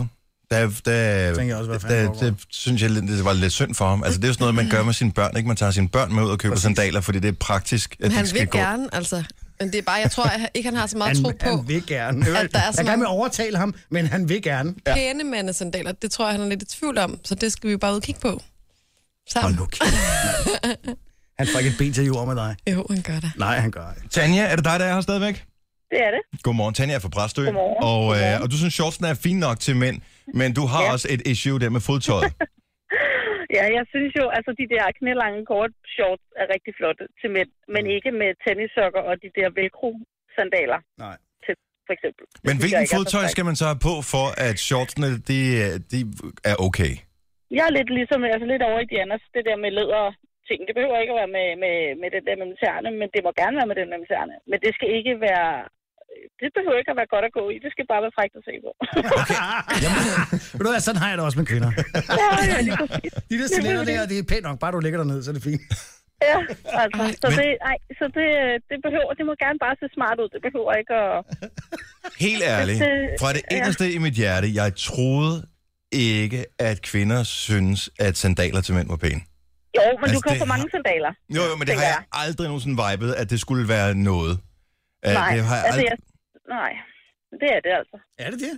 S1: der, der,
S4: Tænker jeg også, hvad fanden
S1: der, der synes jeg, lidt- det var lidt synd for ham. Altså, det er jo sådan noget, man gør med sine børn, ikke? Man tager sine børn med ud og køber sandaler, fordi det er praktisk, at
S3: Men
S1: det
S3: han
S1: ikke skal
S3: vil
S1: gå.
S3: gerne, altså. Men det er bare, jeg tror at han- ikke, han har så meget tro på.
S4: Han vil gerne.
S3: at der er så
S4: jeg kan
S3: mange
S4: med overtale ham, men han vil gerne.
S3: ja. pæne mandesandaler. Det tror jeg, han er lidt i tvivl om, så det skal vi jo bare ud og kigge på. Sammen.
S4: Hold nu kæft, mand. Han får ikke et ben til jord med dig.
S3: Jo, han gør det.
S4: Nej, han gør ikke.
S1: Tanja, er det dig, der er her stadigvæk?
S12: Det er det.
S1: Godmorgen, Tanja er fra Præstø.
S12: Godmorgen.
S1: Og, øh, og du synes, shortsen er fin nok til mænd, men du har ja. også et issue der med fodtøjet.
S12: Ja, jeg synes jo, altså de der knælange kort shorts er rigtig flotte til mænd, men
S1: Mm.
S12: ikke med tennissokker og de der velcro sandaler.
S4: Nej.
S12: Til, for eksempel. Det
S1: Men
S12: synes
S1: hvilken
S12: jeg ikke er så
S1: fodtøj
S12: frækt.
S1: skal man så have på, for at shortsene de, øh, de er okay?
S12: Jeg er lidt ligesom, altså lidt over i Dianas, det der med læder ting. Det behøver ikke at være med, med, med den der mellem tæerne, men det må gerne være med den mellem tæerne. Men det skal ikke være, det behøver ikke at være godt at gå i. Det skal bare være frækt at se på.
S4: Ved du hvad, sådan har jeg det også med kvinder. De der stiletter der, det er pænt nok. Bare du ligger dernede, så er det fint.
S12: Ja, altså, så, det, ej, så det, det, behøver, det må gerne bare se smart ud. Det behøver ikke at...
S1: Helt ærligt,
S12: Det-
S1: fra det
S12: øh, ja.
S1: inderste i mit hjerte, jeg troede ikke, at kvinder synes, at sandaler til mænd var pæne.
S12: Jo, men altså, du
S1: Altså,
S12: kan
S1: det
S12: få mange sandaler.
S1: Jo, jo, men det har jeg aldrig nogensinde vibet, at det skulle være noget. At
S12: Nej,
S1: det har jeg
S12: altså,
S1: aldrig...
S12: jeg, nej, det er det altså.
S4: Er det det?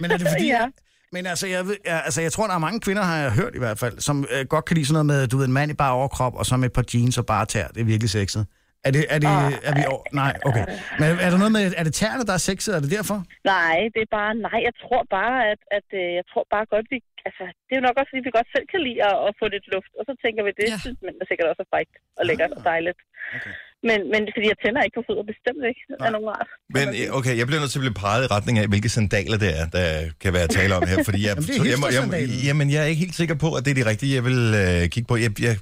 S4: Men er det fordi... ja. Men altså jeg, ved, jeg, altså, jeg tror, der er mange kvinder, har jeg hørt i hvert fald, som øh, godt kan lide sådan noget med, du ved, en mand i bare overkrop, og så med et par jeans og bare tær. Det er virkelig sexet. Er det, er det, er vi over? Nej, okay. Men er der noget med, er det tæerne, der er sexet? Er det derfor?
S12: Nej, det er bare, nej, jeg tror bare, at, at øh, jeg tror bare godt, vi, altså, det er jo nok også, fordi vi godt selv kan lide at, at få lidt luft, og så tænker vi, det ja. synes mænd er sikkert også er frækt og lækkert og dejligt. Okay. Men, men fordi jeg tænder ikke på fødder, bestemt ikke, af nogen art.
S1: Men øh, okay, jeg bliver nødt til at blive peget i retning af, hvilke sandaler det er, der kan være tale om her. Fordi jeg,
S4: Jamen, det er
S1: så- jeg, må- jeg,
S4: hipstersandalen.
S1: jamen, jeg er ikke helt sikker på, at det er de rigtige, jeg vil øh, kigge på. Jeg, jeg,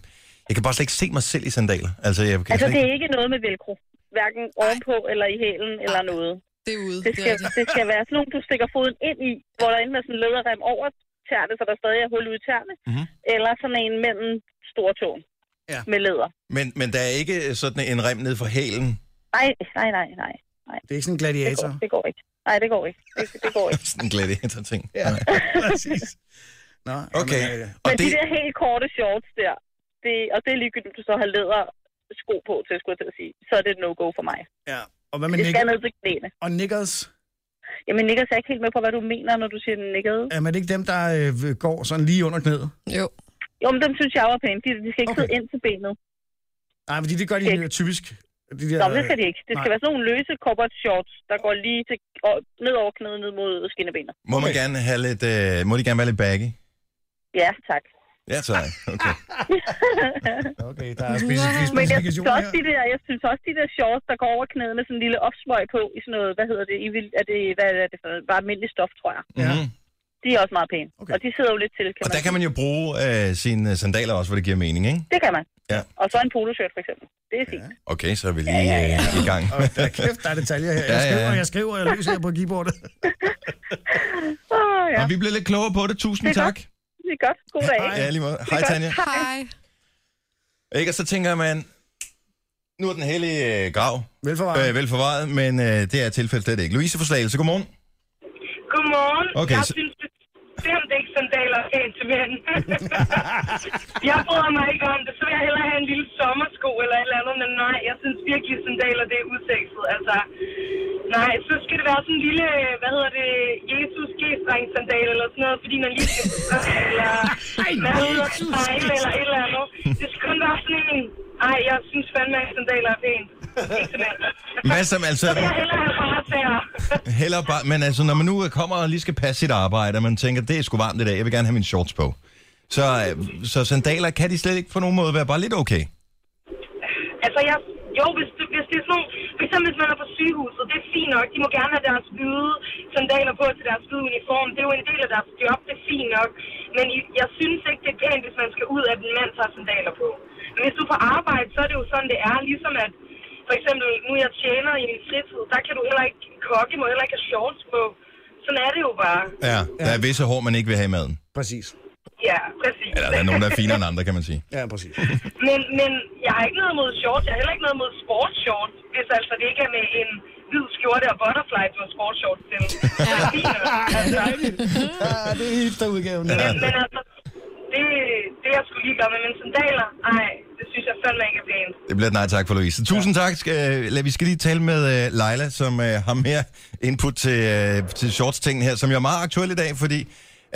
S1: jeg kan bare slet ikke se mig selv i sandaler. Altså, jeg kan
S12: Altså,
S1: slet
S12: det
S1: ikke...
S12: er ikke noget med velcro, hverken ovenpå eller i hælen eller noget.
S3: Det er ude.
S12: Det skal, det, det skal være sådan nogle, du stikker foden ind i, hvor der enten er sådan en læderrem over tærne, så der stadig er hul ud i tærne,
S1: Mhm.
S12: eller sådan en mellem stortåen
S4: ja.
S12: med læder.
S1: Men, men der er ikke sådan en rem ned for hælen.
S12: Nej, nej, nej, nej. nej.
S4: Det er ikke sådan en
S12: Det går,
S4: gladiator.
S12: det går ikke. Nej, det går ikke. Det, det går ikke.
S1: Sådan en gladiator-ting.
S4: Ja, præcis. Nå,
S1: Okay.
S4: jamen, øh,
S12: Men det... de der helt korte shorts der, det, og det er ligegyldigt, om du så har læder sko på til, skulle jeg til at sige, så er det et no-go for mig.
S4: ja. Og hvad med
S12: det skal
S4: nikker?
S12: ned til knæene.
S4: Og nikkers?
S12: Jamen, Niklas er ikke helt med på, hvad du mener, når du siger nikkede.
S4: Er man ikke dem, der øh, går sådan lige under knæet?
S3: Jo.
S12: Jo, men dem synes jeg var pæne. De, de skal ikke okay. sidde ind til benet.
S4: Nej, fordi det gør de øh, typisk. De
S12: Ja, Nå, men det skal de ikke. Det skal
S4: nej.
S12: være sådan nogle løse corporate shorts, der går lige til, og, ned over knæet, ned mod skinnebenet.
S1: Må, man gerne have lidt, øh, må de gerne være lidt baggy?
S12: Ja, tak.
S1: Ja, tak. Okay.
S4: Okay, der er specifikke
S12: Men jeg synes,
S4: specifikationer
S12: også, de der, jeg synes også, de der shorts, der går over knæet med sådan en lille opsmøg på, i sådan noget, hvad hedder det, I vil, er det, hvad er det for noget, bare almindelig stof, tror jeg.
S1: Mm-hmm.
S12: De er også meget pæne. Okay. Og de sidder jo lidt til, kan
S1: Og der
S12: man,
S1: kan man jo bruge øh, sine sandaler også, hvor det giver mening, ikke?
S12: Det kan man.
S1: Ja.
S12: Og så en poloshirt, for eksempel. Det er fint.
S1: Okay, så er vi lige øh, i gang.
S4: Der er kæft, der er detaljer her. Jeg
S1: Ja, ja.
S4: skriver, jeg skriver, og jeg løser her på keyboardet.
S12: Åh, oh, ja.
S1: Og vi bliver lidt klogere på det.
S12: Det
S1: Tusind
S12: er
S1: tak.
S12: godt. Det er godt. God dag.
S1: Ja, lige måde.
S12: Det er
S1: Hej,
S12: godt.
S1: Tanja.
S3: Hej.
S1: Ikke? Og så tænker man, nu er den hellige øh, grav
S4: velforvaret,
S1: øh, velforvaret men øh, det er tilfældet slet ikke. Louise Forslagelse, godmorgen.
S5: Godmorgen.
S1: Okay,
S5: jeg
S1: så-
S5: synes bestemt ikke, sandaler er pænt til mænd. jeg bryder mig ikke om det, så vil jeg hellere have en lille sommersko eller et eller andet, men nej, jeg synes virkelig, sandaler det er udsekset. Altså, nej, så skal det være sådan en lille, hvad hedder det, Jesus g sandal eller sådan noget, fordi man lige skal eller man er ude og sejle eller et eller andet. Det skal kun være sådan en, nej, jeg synes fandme, at sandaler er pænt. Ikke til mænd.
S1: Hvad som altså...
S5: Så vil jeg hellere have bare
S1: Heller bare, men altså, når man nu kommer og lige skal passe sit arbejde, og man tænker, det er sgu varmt i dag, jeg vil gerne have mine shorts på. Så, øh, så sandaler kan de slet ikke på nogen måde være bare lidt okay.
S5: Altså, jeg, jo, hvis, det- hvis det er sådan nogle... For eksempel, hvis man er på sygehuset, det er fint nok. De må gerne have deres hvide sandaler på til deres hvide uniform. Det er jo en del af deres job, det er fint nok. Men I- jeg synes ikke, det er pænt, hvis man skal ud, at en mand tager sandaler på. Men hvis du er på arbejde, så er det jo sådan, det er. Ligesom at, for eksempel, nu jeg tjener i min fritid, der kan du heller ikke... Kokke må heller ikke have shorts på. Sådan er det jo bare.
S1: Ja, der er visse hår, man ikke vil have i maden.
S4: Præcis.
S5: Ja, præcis.
S1: Eller der er nogen, der er finere end andre, kan man sige.
S4: Ja, præcis.
S5: Men, men jeg har ikke noget mod shorts. Jeg har heller ikke noget mod sportsshorts, hvis altså det ikke er med en
S12: hvid skjorte og butterfly og sportsshorts til. Det er fint.
S4: Ah, det er hipsterudgaven.
S12: Men, men altså, det, det er jeg skulle lige gøre med mine sandaler. Ej, det synes jeg fandme ikke er pænt.
S1: Det bliver et nej tak for Louise. Tusind tak. Skal, lad, vi skal lige tale med uh, Leila, som uh, har mere input til, uh, til shorts-tingen her, som jo er meget aktuel i dag, fordi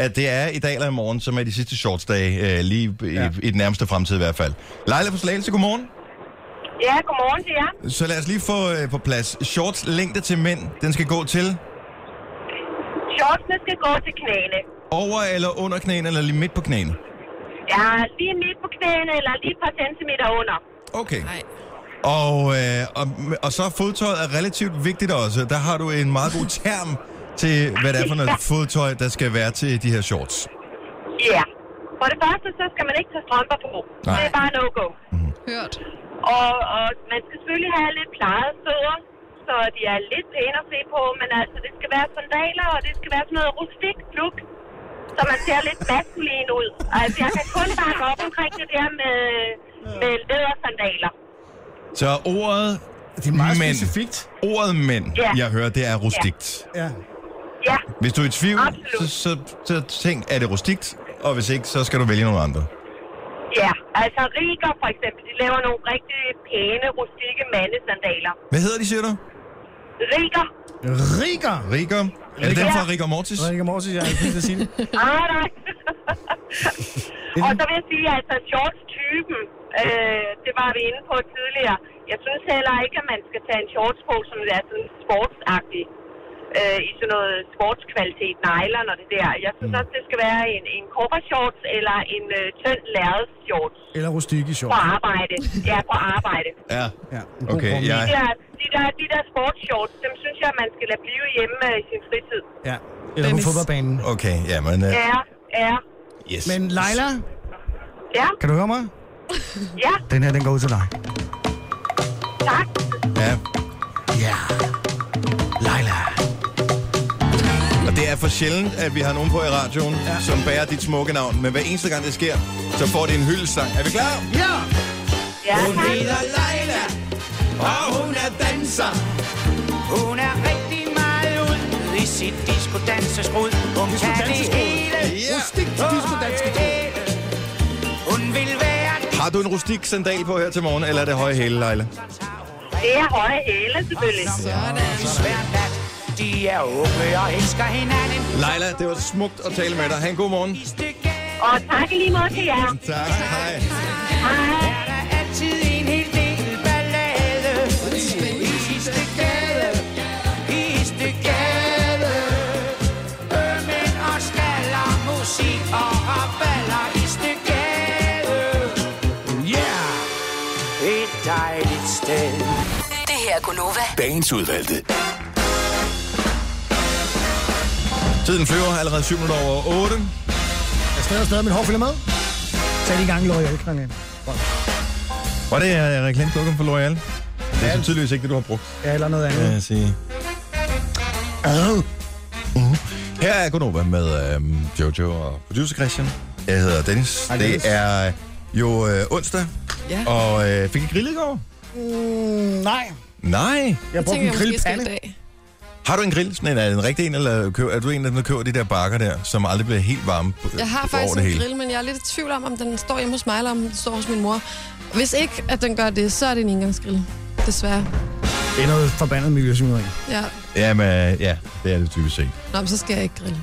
S1: at det er i dag eller i morgen, som er de sidste shorts-dage, uh, lige ja. i, i den nærmeste fremtid i hvert fald. Leila fra Slagelse, godmorgen.
S12: Ja, godmorgen til jer.
S1: Så lad os lige få uh, på plads. Shorts længde til mænd, den skal gå til
S12: Shortsene skal gå til knæene.
S1: over eller under knæene, eller lige midt på knæene?
S12: Ja, lige midt på knæene, eller lige et par centimeter under.
S1: Okay. Og, øh, og, og så er fodtøjet er relativt vigtigt også. Der har du en meget god term til, hvad det er for noget fodtøj, der skal være til de her shorts.
S12: Ja. For det første, så skal man ikke tage strømper på.
S1: Nej. Mhm.
S12: Det er bare no-go.
S3: Hørt.
S12: Og, og man skal selvfølgelig have lidt plejede fødder, så de er lidt pæne at se på, men altså, det skal være sandaler, og det skal være sådan noget rustikt look, så man ser lidt maskulin ud. Altså, jeg kan kun bakke op omkring det der med, med lædersandaler.
S1: Så ordet det er
S4: meget
S1: mænd,
S4: specifikt.
S1: Ordet mænd,
S12: Ja.
S1: jeg hører, det er rustikt.
S4: Ja.
S12: Ja,
S1: Hvis du er i tvivl, så, så, så tænk, er det rustikt? Og hvis ikke, så skal du vælge nogle andre.
S12: ja. Altså, Riger for eksempel, de laver nogle rigtig pæne, rustikke mandesandaler.
S1: Hvad hedder de, siger du?
S12: Riger.
S4: Riger.
S1: Riger. Er det den fra Riger Mortis?
S4: Riger Mortis, jeg har ikke sige det.
S12: Ah, nej. og så vil jeg sige, at altså, shorts-typen, øh, det var vi inde på tidligere. Jeg synes heller ikke, at man skal tage en shorts på, som er sådan sportsagtig. Øh, I sådan noget sportskvalitet, nejler og det der. Jeg
S1: Mm.
S12: synes også, det skal være en, en shorts eller en øh, tynd lærred shorts
S4: Eller rustik i
S12: på
S4: shorts.
S12: arbejde. Ja, på arbejde.
S1: Ja.
S4: ja.
S1: Okay,
S12: De
S1: jeg...
S12: der, de, der, de der sportsshorts, dem synes jeg, man skal lade blive hjemme øh, i sin fritid.
S4: Ja. Eller på fodboldbanen.
S1: Okay, ja, men... Uh,
S12: Ja, ja,
S1: yes.
S4: Men Leila,
S12: ja,
S4: kan du høre mig?
S12: ja,
S4: Den her, den går ud til dig.
S12: tak.
S1: Ja.
S4: Ja. Leila.
S1: Og det er for sjældent, at vi har nogen på i radioen, ja. som bærer dit smukke navn. Men hver eneste gang det sker, så får det en hyldesang. Er vi klar?
S4: Ja!
S12: Ja,
S6: Hun hedder Leila, og hun er danser. Hun er rigtig meget ud i sit diskodanseskrud. Hun kan det hele.
S1: Ja.
S6: Rustik diskodanseskrud. Hun vil være
S1: Har du en rustik sandal på her til morgen, eller er det høje hæle, Leila?
S12: Det er høje hæle, selvfølgelig.
S6: hver nat. De er unge og elsker hinanden.
S1: Leila, det var smukt at tale med dig. Ha' en god morgen.
S12: Og tak i lige måde til jer.
S1: Tak. Hej.
S6: Her er der altid en hel del ballade. I Istedgade, i Istedgade. Ømænd og skaller, musik og raballer. Istedgade, yeah, et dejligt sted.
S14: Det her er Gunova.
S15: Dagens udvalgte.
S1: Tiden flyver allerede 7 minutter over 8.
S4: Jeg stadig stadig, min hår følger med. Tag lige i gang, Løg. Jeg kan
S1: Var det uh, reklameklokken for L'Oreal? Det er så tydeligvis ikke det, du har brugt.
S4: Ja, eller noget andet.
S1: Kan jeg sige. Ad. Uh. Her er Gunova med øhm, Jojo og producer Christian. Jeg hedder Dennis.
S4: Hej, Dennis.
S1: Det er jo øh, onsdag,
S3: Ja.
S1: og øh, fik I grillet i går?
S4: Mm, nej.
S1: Nej.
S4: Jeg brugte en grillpande.
S1: Har du en grill? Sådan en, er det en rigtig en, eller køber, er du en, af dem, der køber de der bakker der, som aldrig bliver helt varme på,
S3: Jeg har
S1: over
S3: faktisk
S1: det
S3: en
S1: hele?
S3: grill, men jeg er lidt i tvivl om, om den står hjemme hos mig, eller om den står hos min mor. Hvis ikke, at den gør det, så er det en engangsgrill. Desværre.
S4: Det er noget forbandet miljøsyneri.
S3: Ja.
S1: Jamen, øh, ja, det er det typisk set.
S3: Nå, men så skal jeg ikke grille.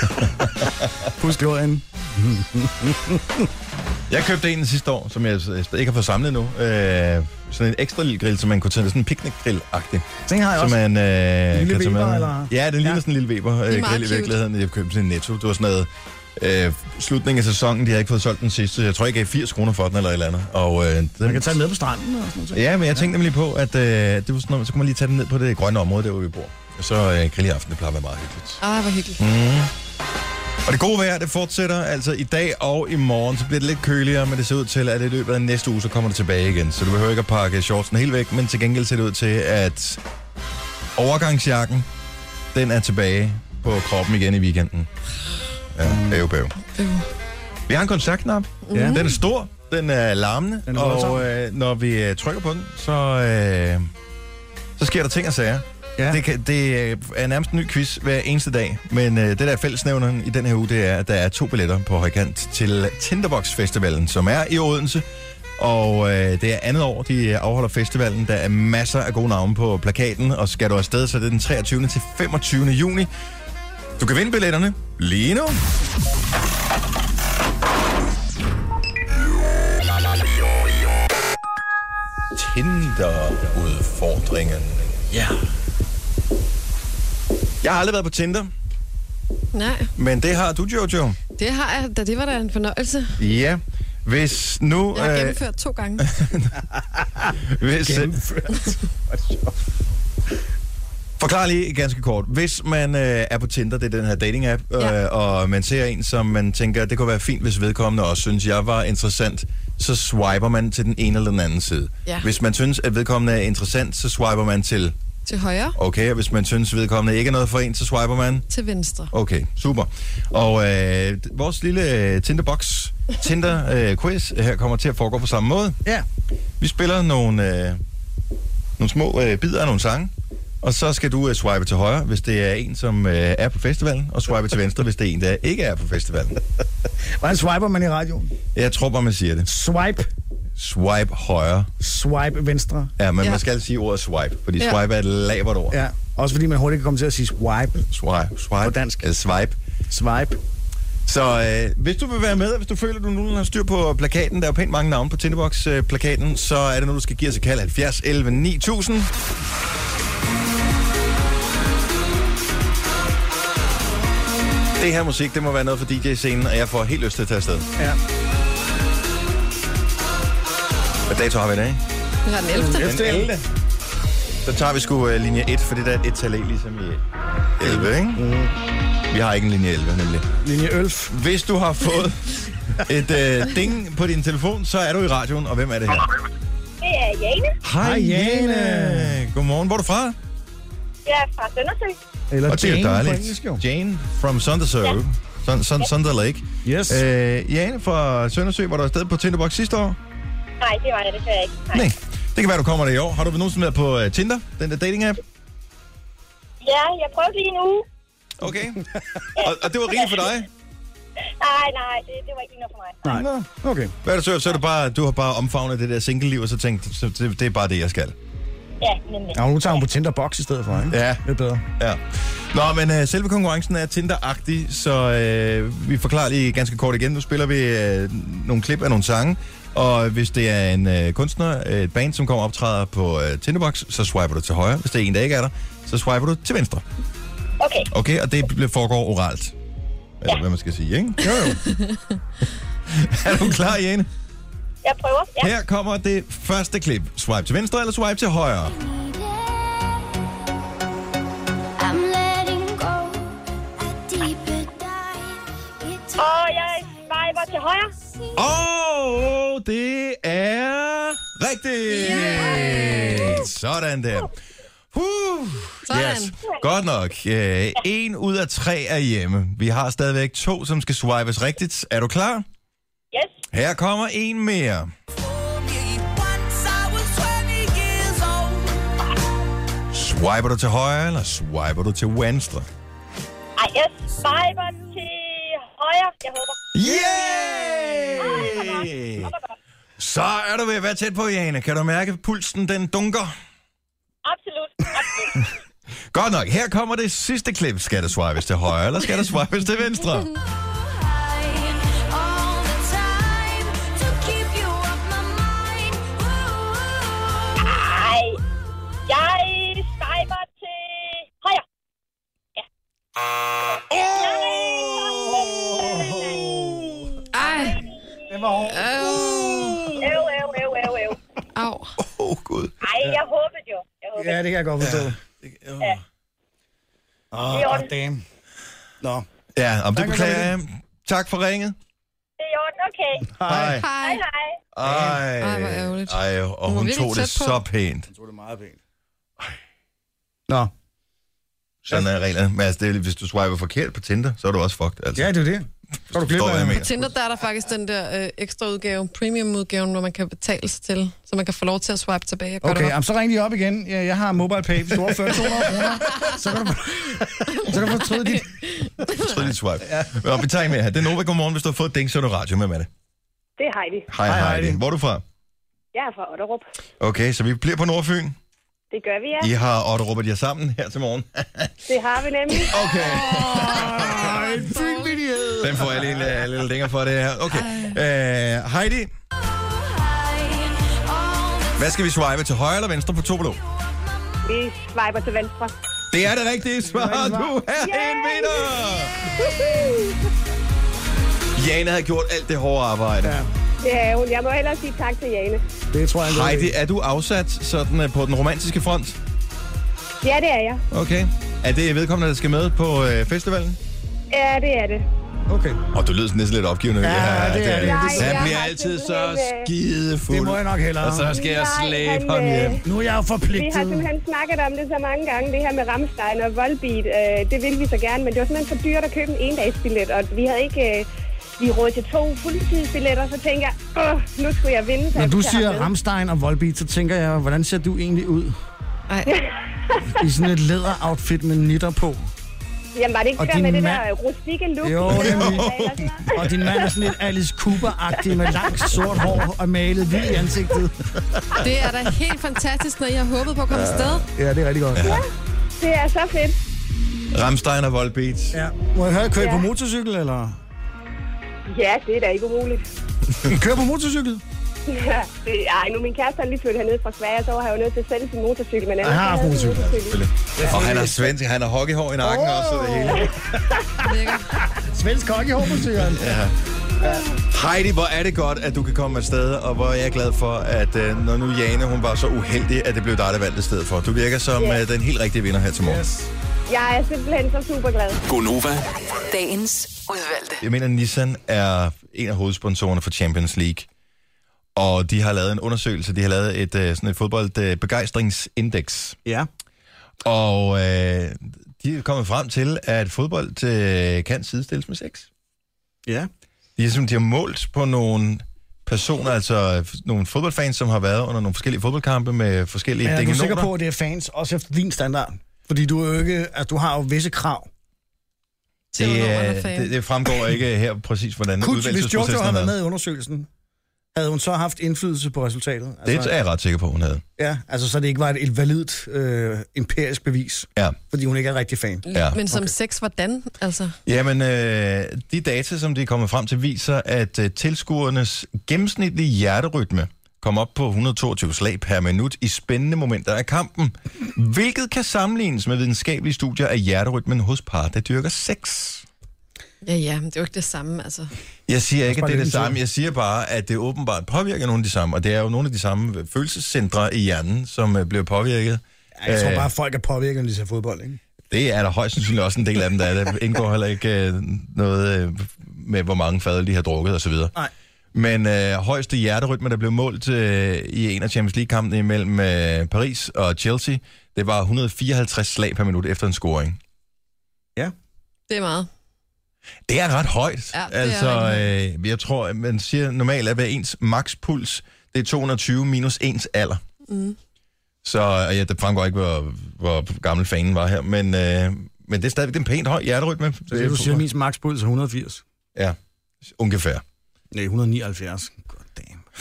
S4: Husk låden.
S1: Jeg købte en sidste år, som jeg øh, ikke har fået samlet nu. Øh, sådan en ekstra lille grill, som man kunne tage sådan en picnicgrill-agtig.
S4: Den har jeg
S1: Som
S4: også.
S1: man øh,
S4: Lille
S1: kan tage
S4: Weber,
S1: med.
S4: eller?
S1: Ja, den ligner
S4: Ja.
S1: sådan en lille
S4: Det er meget
S1: Weber-grill i
S4: cute.
S1: virkeligheden. Jeg købte sådan en netto. Det var sådan noget øh, slutningen af sæsonen. De havde ikke fået solgt den sidste. Jeg tror, jeg gav 80 kroner for den eller et eller andet. Og, øh, den,
S4: Man kan tage den med på stranden og sådan noget.
S1: Ja, men jeg tænkte nemlig på, at øh, det var sådan noget, så kunne man lige tage den ned på det grønne område, der hvor vi bor. Og så øh, grill i aften, det plejer at være meget hyggeligt.
S3: Ah, hvor hyggeligt.
S1: Mm. Og det gode vejr, det fortsætter altså i dag og i morgen, så bliver det lidt køligere, men det ser ud til, at i løbet af næste uge, så kommer det tilbage igen. Så du behøver ikke at pakke shortsen helt væk, men til gengæld ser det ud til, at overgangsjakken, den er tilbage på kroppen igen i weekenden. Ja, øv, bøv. Vi har en kontaktknap.
S4: Ja.
S1: Ja. Den er stor, den er larmende,
S4: Den
S1: den
S4: er
S1: er
S4: voldsom.
S1: og øh, når vi øh, trykker på den, så, øh, så sker der ting og sager. Ja. Det, kan, det øh, er nærmest en ny quiz hver eneste dag, men øh, det der er fællesnævneren i den her uge, det er, at der er to billetter på højkant til Tinderbox Festivalen, som er i Odense. Og øh, det er andet år, de afholder festivalen. Der er masser af gode navne på plakaten, og skal du afsted, så er det den 23. til 25. juni. Du kan vinde billetterne lige nu. Tinder-udfordringen. Ja. Jeg har aldrig været på Tinder,
S3: Nej,
S1: men det har du, Jojo.
S3: det har jeg. Da det var da en fornøjelse.
S1: Ja. Hvis nu...
S3: Jeg har
S1: øh,
S3: gennemført to gange.
S1: Hvis, øh,
S3: Gennemført.
S1: Forklar lige ganske kort. Hvis man øh, er på Tinder, det er den her dating-app, øh,
S3: Ja.
S1: og man ser en, som man tænker, det kunne være fint, hvis vedkommende også synes, jeg var interessant, så swiper man til den ene eller den anden side.
S3: Ja.
S1: Hvis man synes, at vedkommende er interessant, så swiper man til
S3: Til højre,
S1: okay, og hvis man synes, vedkommende ikke er noget for en, så swiper man
S3: til venstre.
S1: Okay, super. Og øh, d- vores lille øh, Tinderbox, Tinder-quiz, her kommer til at foregå på samme måde.
S4: Ja.
S1: Vi spiller nogle, øh, nogle små øh, bidder af nogle sange, og så skal du øh, swipe til højre, hvis det er en, som øh, er på festivalen, og swipe til venstre, hvis det er en, der ikke er på festivalen.
S4: Hvordan swiper man i radioen?
S1: Jeg tror bare, man siger det.
S4: Swipe.
S1: Swipe højre.
S4: Swipe venstre.
S1: Ja, men
S4: Ja.
S1: ja. man skal sige ordet swipe, fordi
S4: Ja.
S1: swipe er et labert ord.
S4: Ja, også fordi man hurtigt kan komme til at sige swipe.
S1: Swipe. Swipe.
S4: På dansk.
S1: Eller swipe.
S4: Swipe.
S1: Så øh, hvis du vil være med, og hvis du føler, at du nu har styr på plakaten, der er jo pænt mange navne på Tinderbox-plakaten, så er det nu, du skal give os et kald 70 11 9000. Det her musik, det må være noget for DJ-scenen, og jeg får helt lyst til at tage afsted.
S4: Ja.
S1: Hvad dato har vi i dag?
S3: Det var den 11.
S1: Så tager vi sgu øh, linje 1, for det der er et tal ligesom i 11, ikke? Mm. Vi har ikke en linje 11, nemlig.
S4: Linje 11.
S1: Hvis du har fået et øh, ding på din telefon, så er du i radioen, og hvem er det her?
S16: Det er Jane.
S1: Hej, Jane. Godmorgen, hvor er du fra?
S16: Jeg er fra Søndersø.
S1: Eller og det er
S4: Jane på
S1: dejligt.
S4: engelsk, jo.
S1: Jane from Sundersø. Ja. Sun, sun, Sunder Lake.
S4: Yes.
S1: Øh, Jane fra Søndersø, var du afsted på Tinderbox sidste år?
S16: Nej, det var jeg desværre ikke.
S1: Nej. Det kan være, du kommer der i år. Har du nogensinde været på øh, Tinder, den der dating-app?
S16: Ja, jeg prøvede lige en uge.
S1: Okay. og, og det var rigeligt for dig?
S16: Nej, nej, det, det var ikke lige noget for mig.
S1: Nej.
S4: Okay.
S1: Hvad er det så? Så er det bare, du har bare omfavnet det der single-liv, og så tænkt, så det, det er bare det, jeg skal.
S16: Ja, nemlig.
S4: Ja, nu tager hun på Tinderbox i stedet for, ikke?
S1: Ja.
S4: Det er bedre.
S1: Ja. Nå, men øh, selve konkurrencen er Tinder-agtig, så øh, vi forklarer lige ganske kort igen. Nu spiller vi øh, nogle klip af nogle sange, og hvis det er en øh, kunstner, øh, et band, som kommer og optræder på øh, Tinderbox, så swiper du til højre. Hvis det er en, der ikke er der, så swiper du til venstre.
S16: Okay.
S1: Okay, og det bl- foregår oralt. Eller hvad man skal sige, ikke? Jo, jo. er du klar, Jane?
S16: Jeg prøver. Ja.
S1: Her kommer det første klip. Swipe til venstre eller swipe til højre?
S16: I'm letting go. Og jeg swiper til højre.
S1: Og det er rigtigt! Yeah. Sådan der. Huh.
S6: Sådan.
S1: Yes. Godt nok. Øh, En ud af tre er hjemme. Vi har stadigvæk to, som skal swipes rigtigt. Er du klar?
S16: Yes.
S1: Her kommer en mere. Swiper du til højre, eller swiper du til venstre?
S16: Ej, jeg swiper til højre, jeg håber.
S1: Yay! Så er du ved at være tæt på, Jane. Kan du mærke, at pulsen den dunker?
S16: Absolut. Absolut.
S1: Godt nok. Her kommer det sidste klip. Skal der swipes til højre, eller skal der swipes til venstre?
S16: Ej, jeg swiper til højre.
S3: Ej.
S4: Det var hårdt.
S16: Øv, øv, øv, øv, øv.
S3: Au.
S1: Åh, oh, Gud.
S16: Ej, jeg håbede jo. Jeg håbede.
S4: Ja, det kan jeg godt forstå. Ja.
S16: Ja.
S4: Åh,
S16: Det er
S1: Ah,
S4: oh,
S16: ondt.
S4: damn. Nå.
S1: Ja, om
S4: Tak,
S1: det
S4: for
S1: beklager jeg. Tak for ringet.
S16: Det er i orden, okay.
S1: Hej.
S16: Hej, hej.
S1: Ej,
S4: Ej, hvor ærgerligt.
S1: Ej, og
S4: Hun var
S1: hun
S4: virkelig
S1: tog det
S4: tæt på.
S1: så pænt.
S4: Hun tog det meget pænt. Nå.
S1: Sådan er reglerne. Men altså, det er, hvis du swiper forkert på Tinder, så er du også fucked. Altså.
S4: Ja, det er det. Så er du glip
S1: Forstår, hvad jeg
S4: af
S3: På Tinder, der er der faktisk den der øh, ekstra udgave, premium-udgaven, hvor man kan betale sig til, så man kan få lov til at swipe tilbage. og gøre
S4: Okay,
S3: det
S4: jamen, så ring lige op igen. Jeg, jeg har mobile pay. Hvis du overfører 200 kroner, så kan du, så kan du fortryde dit...
S1: Fortryd dit swipe. Ja. Vi tager en mere her. Det er Nova. Godmorgen, hvis du har fået Ding, så er du radio med, Mette.
S17: Det er Heidi.
S1: Hej, hej, Heidi. Hvor er du fra?
S17: Jeg er fra Otterup.
S1: Okay, så vi bliver på Nordfyn.
S17: Det gør vi, ja.
S1: I har Otto Robert jer sammen her til morgen.
S17: Det har vi nemlig.
S1: Okay.
S17: Åh, en
S4: fyldighed.
S1: Den får jeg lige en lille- lille længere for det her. Okay. Øh, Heidi, hvad skal vi swipe til højre eller venstre på Tobolo?
S17: Vi swiper til venstre.
S1: Det er det rigtige svar. Du er en vinder! Jane havde gjort alt det hårde arbejde. Ja.
S17: Ja, hun. Jeg må hellere sige tak til Jane.
S4: Det tror jeg,
S1: Heidi, er du afsat sådan øh, på den romantiske front?
S17: Ja, det er jeg.
S1: Okay. Er det vedkommende, der skal med på øh, festivalen?
S17: Ja, det er det.
S4: Okay.
S1: Og du lyder sådan næsten lidt opgivende.
S17: Ja, det er det. Nej, jeg
S1: Han bliver
S17: har
S1: altid så
S17: simpelthen, øh,
S1: skidefuld.
S4: Det må jeg nok hellere.
S1: Og så skal jeg
S17: Nej,
S1: slæbe
S17: han,
S1: ham
S17: øh,
S1: hjem.
S4: Nu er jeg jo
S17: Vi har
S4: forpligtet.
S17: simpelthen snakket om det så mange gange, det her med Ramstein og Volbeat. Øh, det ville vi så gerne, men det var simpelthen for dyrt at købe en endagsbillet, og vi havde ikke... Øh, vi råd til to fuldtidsbilletter, så tænker jeg, "Åh, nu skulle jeg vinde. så
S4: Når
S17: jeg
S4: du
S17: skal
S4: siger
S17: hermed."
S4: Ramstein og Volbeat, så tænker jeg, hvordan ser du egentlig ud? I sådan et læder-outfit med nitter på.
S17: Jamen, var det ikke
S4: Og
S17: det der
S4: din
S17: med det
S4: mand-
S17: der rustikke look?
S4: Jo,
S17: vi
S4: nemlig.
S17: havde, eller sådan noget?
S4: Og din mand er sådan lidt Alice Cooper-agtig med langt sort hår og malet hvid i ansigtet.
S3: op. Det er da helt fantastisk, når I har håbet på at komme afsted.
S4: Ja, det er rigtig godt.
S1: Ja.
S17: Det er så fedt.
S1: Ramstein og Volbeat.
S4: Ja. Må jeg høre, kører I på
S17: Ja.
S4: motorcykel, eller?
S17: Ja, det er da ikke umuligt.
S4: I kører på motorcykel?
S17: Ja, det- Ej, nu min kæreste er lige flyttet hernede fra Sverige, så var han jo nødt til at sælge sin motorcykel. Men ellers
S1: har haft
S17: så havde han
S1: motorcykel, Og han er svensk, han har hockeyhår i nakken oh. også. og Det hele.
S4: Svensk hockey hår på cykeln.
S1: Ja. Heidi, hvor er det godt, at du kan komme afsted, og hvor er jeg glad for, at øh, når nu Jane, hun var så uheldig, at det blev dig, der valgte stedet for. Du virker som
S17: Ja.
S1: yeah. den helt rigtige vinder her til morgen. Yes.
S17: Jeg er simpelthen så super glad.
S1: Gonova.
S9: Dagens udvalgte.
S1: Jeg mener, Nissan er en af hovedsponsorerne for Champions League. Og de har lavet en undersøgelse, de har lavet et, øh, sådan et fodboldbegejstringsindeks.
S4: Ja.
S1: Og øh, de er kommet frem til, at fodbold øh, kan sidestilles med sex.
S4: Ja.
S1: De er simpelthen de har målt på nogle personer, altså f- nogle fodboldfans, som har været under nogle forskellige fodboldkampe med forskellige
S4: Men er du
S1: dingenoter.
S4: sikker på, at det er fans, også efter din standard? Fordi du, er jo ikke, altså, du har jo visse krav.
S1: det,
S4: er
S1: øh,
S4: fan?
S1: det, det fremgår ikke her præcis, hvordan
S4: Kun, hvis Jojo
S1: udvalgelsesprocessen
S4: havde
S1: har
S4: været
S1: været.
S4: med i undersøgelsen, havde hun så haft indflydelse på resultatet? Altså-
S1: Det er jeg ret sikker på, hun havde.
S4: Ja, altså så det ikke var et, et validt øh, empirisk bevis,
S1: ja.
S4: fordi hun ikke er rigtig fan.
S1: Ja.
S3: Men som okay. sex, hvordan? Altså,
S1: Jamen, øh, de data, som de er kommet frem til, viser, at øh, tilskuernes gennemsnitlige hjerterytme kommer op på 122 slag per minut i spændende momenter af kampen, hvilket kan sammenlignes med videnskabelige studier af hjerterytmen hos par, der dyrker sex.
S3: ja, ja, men det er jo ikke det samme. Altså.
S1: Jeg siger ikke,
S3: Bare
S1: at det er
S3: lidt
S1: det
S3: den
S1: samme. Jeg siger bare, at det åbenbart påvirker nogle af de samme, og det er jo nogle af de samme følelsescentre i hjernen, som øh, bliver påvirket.
S4: Ja, jeg tror
S1: Øh,
S4: bare, at folk er påvirket, når de ser fodbold, ikke?
S1: Det er der højst sandsynligt også en del af dem, der er. Der indgår heller ikke øh, noget øh, med, hvor mange fader de har drukket osv.
S4: Nej.
S1: Men øh, højeste hjerterytme, der blev målt øh, i en af Champions League-kampene imellem øh, Paris og Chelsea, det var 154 slag per minut efter en scoring.
S3: Det er meget.
S1: Det er ret højt.
S3: Ja, det er
S1: altså,
S3: rigtig
S1: øh, jeg tror, at man siger normalt, at hver ens makspuls, det er 220 minus ens alder.
S3: Mm.
S1: Så og ja, det fremgår ikke, hvor, hvor gammel fanen var her, men, øh, men det er stadigvæk en pænt høj hjerterytme.
S4: Så det, du siger, min makspuls er 180.
S1: Ja, ungefær.
S4: Nej, 179. God
S1: damn.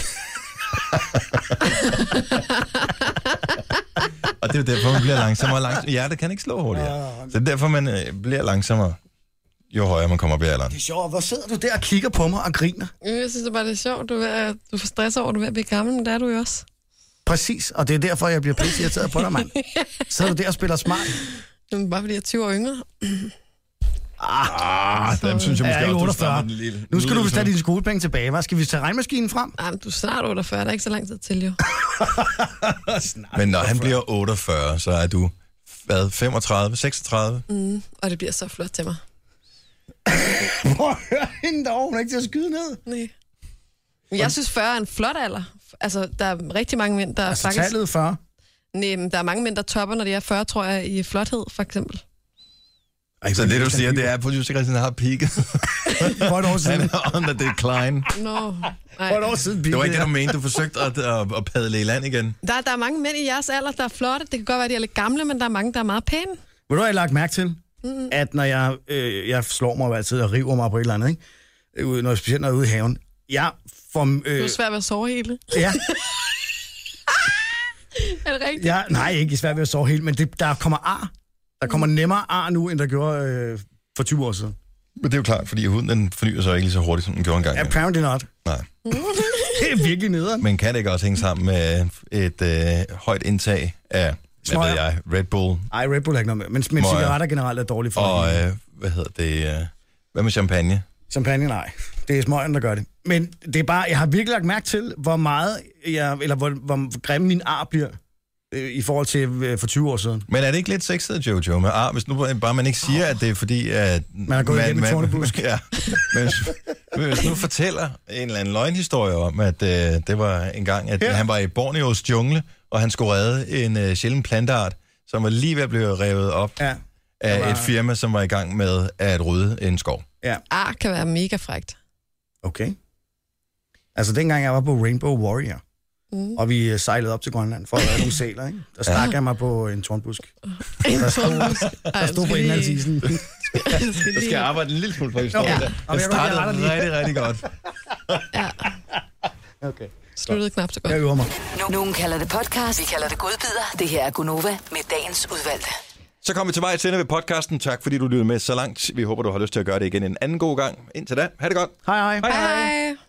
S1: og det er jo derfor, man bliver langsommere. langsommere. Hjertet kan ikke slå hurtigere.
S4: Ah,
S1: Så det er derfor, man øh, bliver langsommere, jo højere man kommer op i alderen.
S4: Det er sjovt. Hvor sidder du der og kigger på mig og griner?
S3: Øh, Jeg synes det bare, det er sjovt. Du, er, ved at- du får stress over, at du er ved at blive gammel, men det er du jo også.
S4: Præcis, og det er derfor, jeg bliver pisse irriteret på dig, mand. Så er du der og spiller smart.
S3: Jamen, bare fordi jeg er 20 år yngre.
S1: Ah, dem synes jeg
S4: Ja,
S1: måske
S4: ikke
S1: også, du
S4: 48.
S1: stammer en lille-
S4: Nu skal du
S1: lille
S4: vist have
S1: smule.
S4: dine skolepenge tilbage, hva'? Skal vi tage regnmaskinen frem?
S3: Nej, men du er snart 48, der er ikke så lang tid til, jo.
S1: Men når han bliver 48, så er du hvad, 35, 36?
S3: Mm, og det bliver så flot til mig.
S4: Prøv at høre hende derovre, hun er ikke til at skyde ned.
S3: Nej. Men Jeg synes, 40 er en flot alder. Altså, der er rigtig mange mænd, der
S4: Altså,
S3: faktisk...
S4: tallet 40?
S3: Nej, men der er mange mænd, der topper, når de er 40, tror jeg, i flothed, for eksempel.
S1: Ej, så det, du siger, det er, at producer Christian har peaked.
S4: For et år
S1: siden. Han er on the decline.
S3: Nå, nej.
S4: For et år siden
S1: Det var ikke det,
S4: peakede
S1: du mente. Du forsøgte at, at, at padle i land igen.
S3: Der, der er mange mænd i jeres alder, der er flotte. Det kan godt være, at de er lidt gamle, men der er mange, der er meget pæne.
S4: Ved du, hvad jeg har lagt mærke til?
S3: Mm.
S4: At når jeg, øh, jeg slår mig jo altid og river mig på et eller andet, ikke? Øh, ude- Når, specielt når jeg er ude i haven. Jeg får...
S3: Det er
S4: Øh,
S3: jo svært ved at sove hele.
S4: ja,
S3: Er det rigtigt?
S4: ja, nej, ikke svært ved at sove helt, men det, der kommer ar. Der kommer nemmere ar nu, end der gjorde øh, for 20 år siden.
S1: Men det er jo klart, fordi huden den fornyer sig ikke lige så hurtigt, som den gjorde engang.
S4: Apparently not.
S1: Nej.
S4: det er virkelig nederen.
S1: Men kan det ikke også hænge sammen med et øh, højt indtag af, hvad ved
S4: Smøger.
S1: jeg, Red Bull
S4: Ej, Red Bull er ikke noget med. Men, men
S1: Må jeg?
S4: cigaretter generelt er dårlige for
S1: og,
S4: dig.
S1: øh, hvad hedder det, øh, hvad med champagne?
S4: Champagne, nej. Det er smøgen, der gør det. Men det er bare, jeg har virkelig lagt mærke til, hvor meget, jeg, eller hvor, hvor grim min ar bliver øh, i forhold til øh, for 20 år siden.
S1: Men er det ikke lidt sexet, Jojo, med ar? Hvis nu bare man ikke siger, at det er fordi, at... Man
S4: har gået igennem et tornebusk.
S1: Ja, men hvis, men hvis nu fortæller en eller anden løgnhistorie om, at øh, det var en gang, at ja. han var i Borneos jungle, og han skulle redde en øh, sjælden planteart, som var lige ved at blive revet op
S4: ja.
S1: af
S3: var-
S1: et firma, som var i gang med at rydde en skov.
S4: Ja.
S3: Ar Ah, kan være mega frægt.
S4: Okay. Altså, dengang jeg var på Rainbow Warrior,
S3: Mm.
S4: og vi øh, sejlede op til Grønland for at redde nogle sæler, ikke? der stak
S3: Ja.
S4: jeg mig på en tornbusk.
S3: En
S4: Der stod,
S3: tornbusk. Ej,
S4: der stod
S3: skal
S4: på
S3: lige-
S4: indlandsisen.
S1: Du skal arbejde en lille smule på historien.
S4: Ja.
S1: Ja.
S4: Nå, men jeg
S1: Jeg
S4: kan godt- jeg
S1: startede
S4: retter lige.
S1: rigtig, rigtig godt.
S4: Okay.
S3: Sluttede knap så godt.
S4: Jeg øver mig.
S9: Nogen kalder det podcast, vi kalder det godbider. Det her er Gunova med dagens udvalgte.
S1: Så kom vi til vej til ved podcasten. Tak fordi du lyttede med så langt. Vi håber, du har lyst til at gøre det igen en anden god gang. Indtil da, ha' det godt.
S4: Hej hej.
S3: Hej. hej.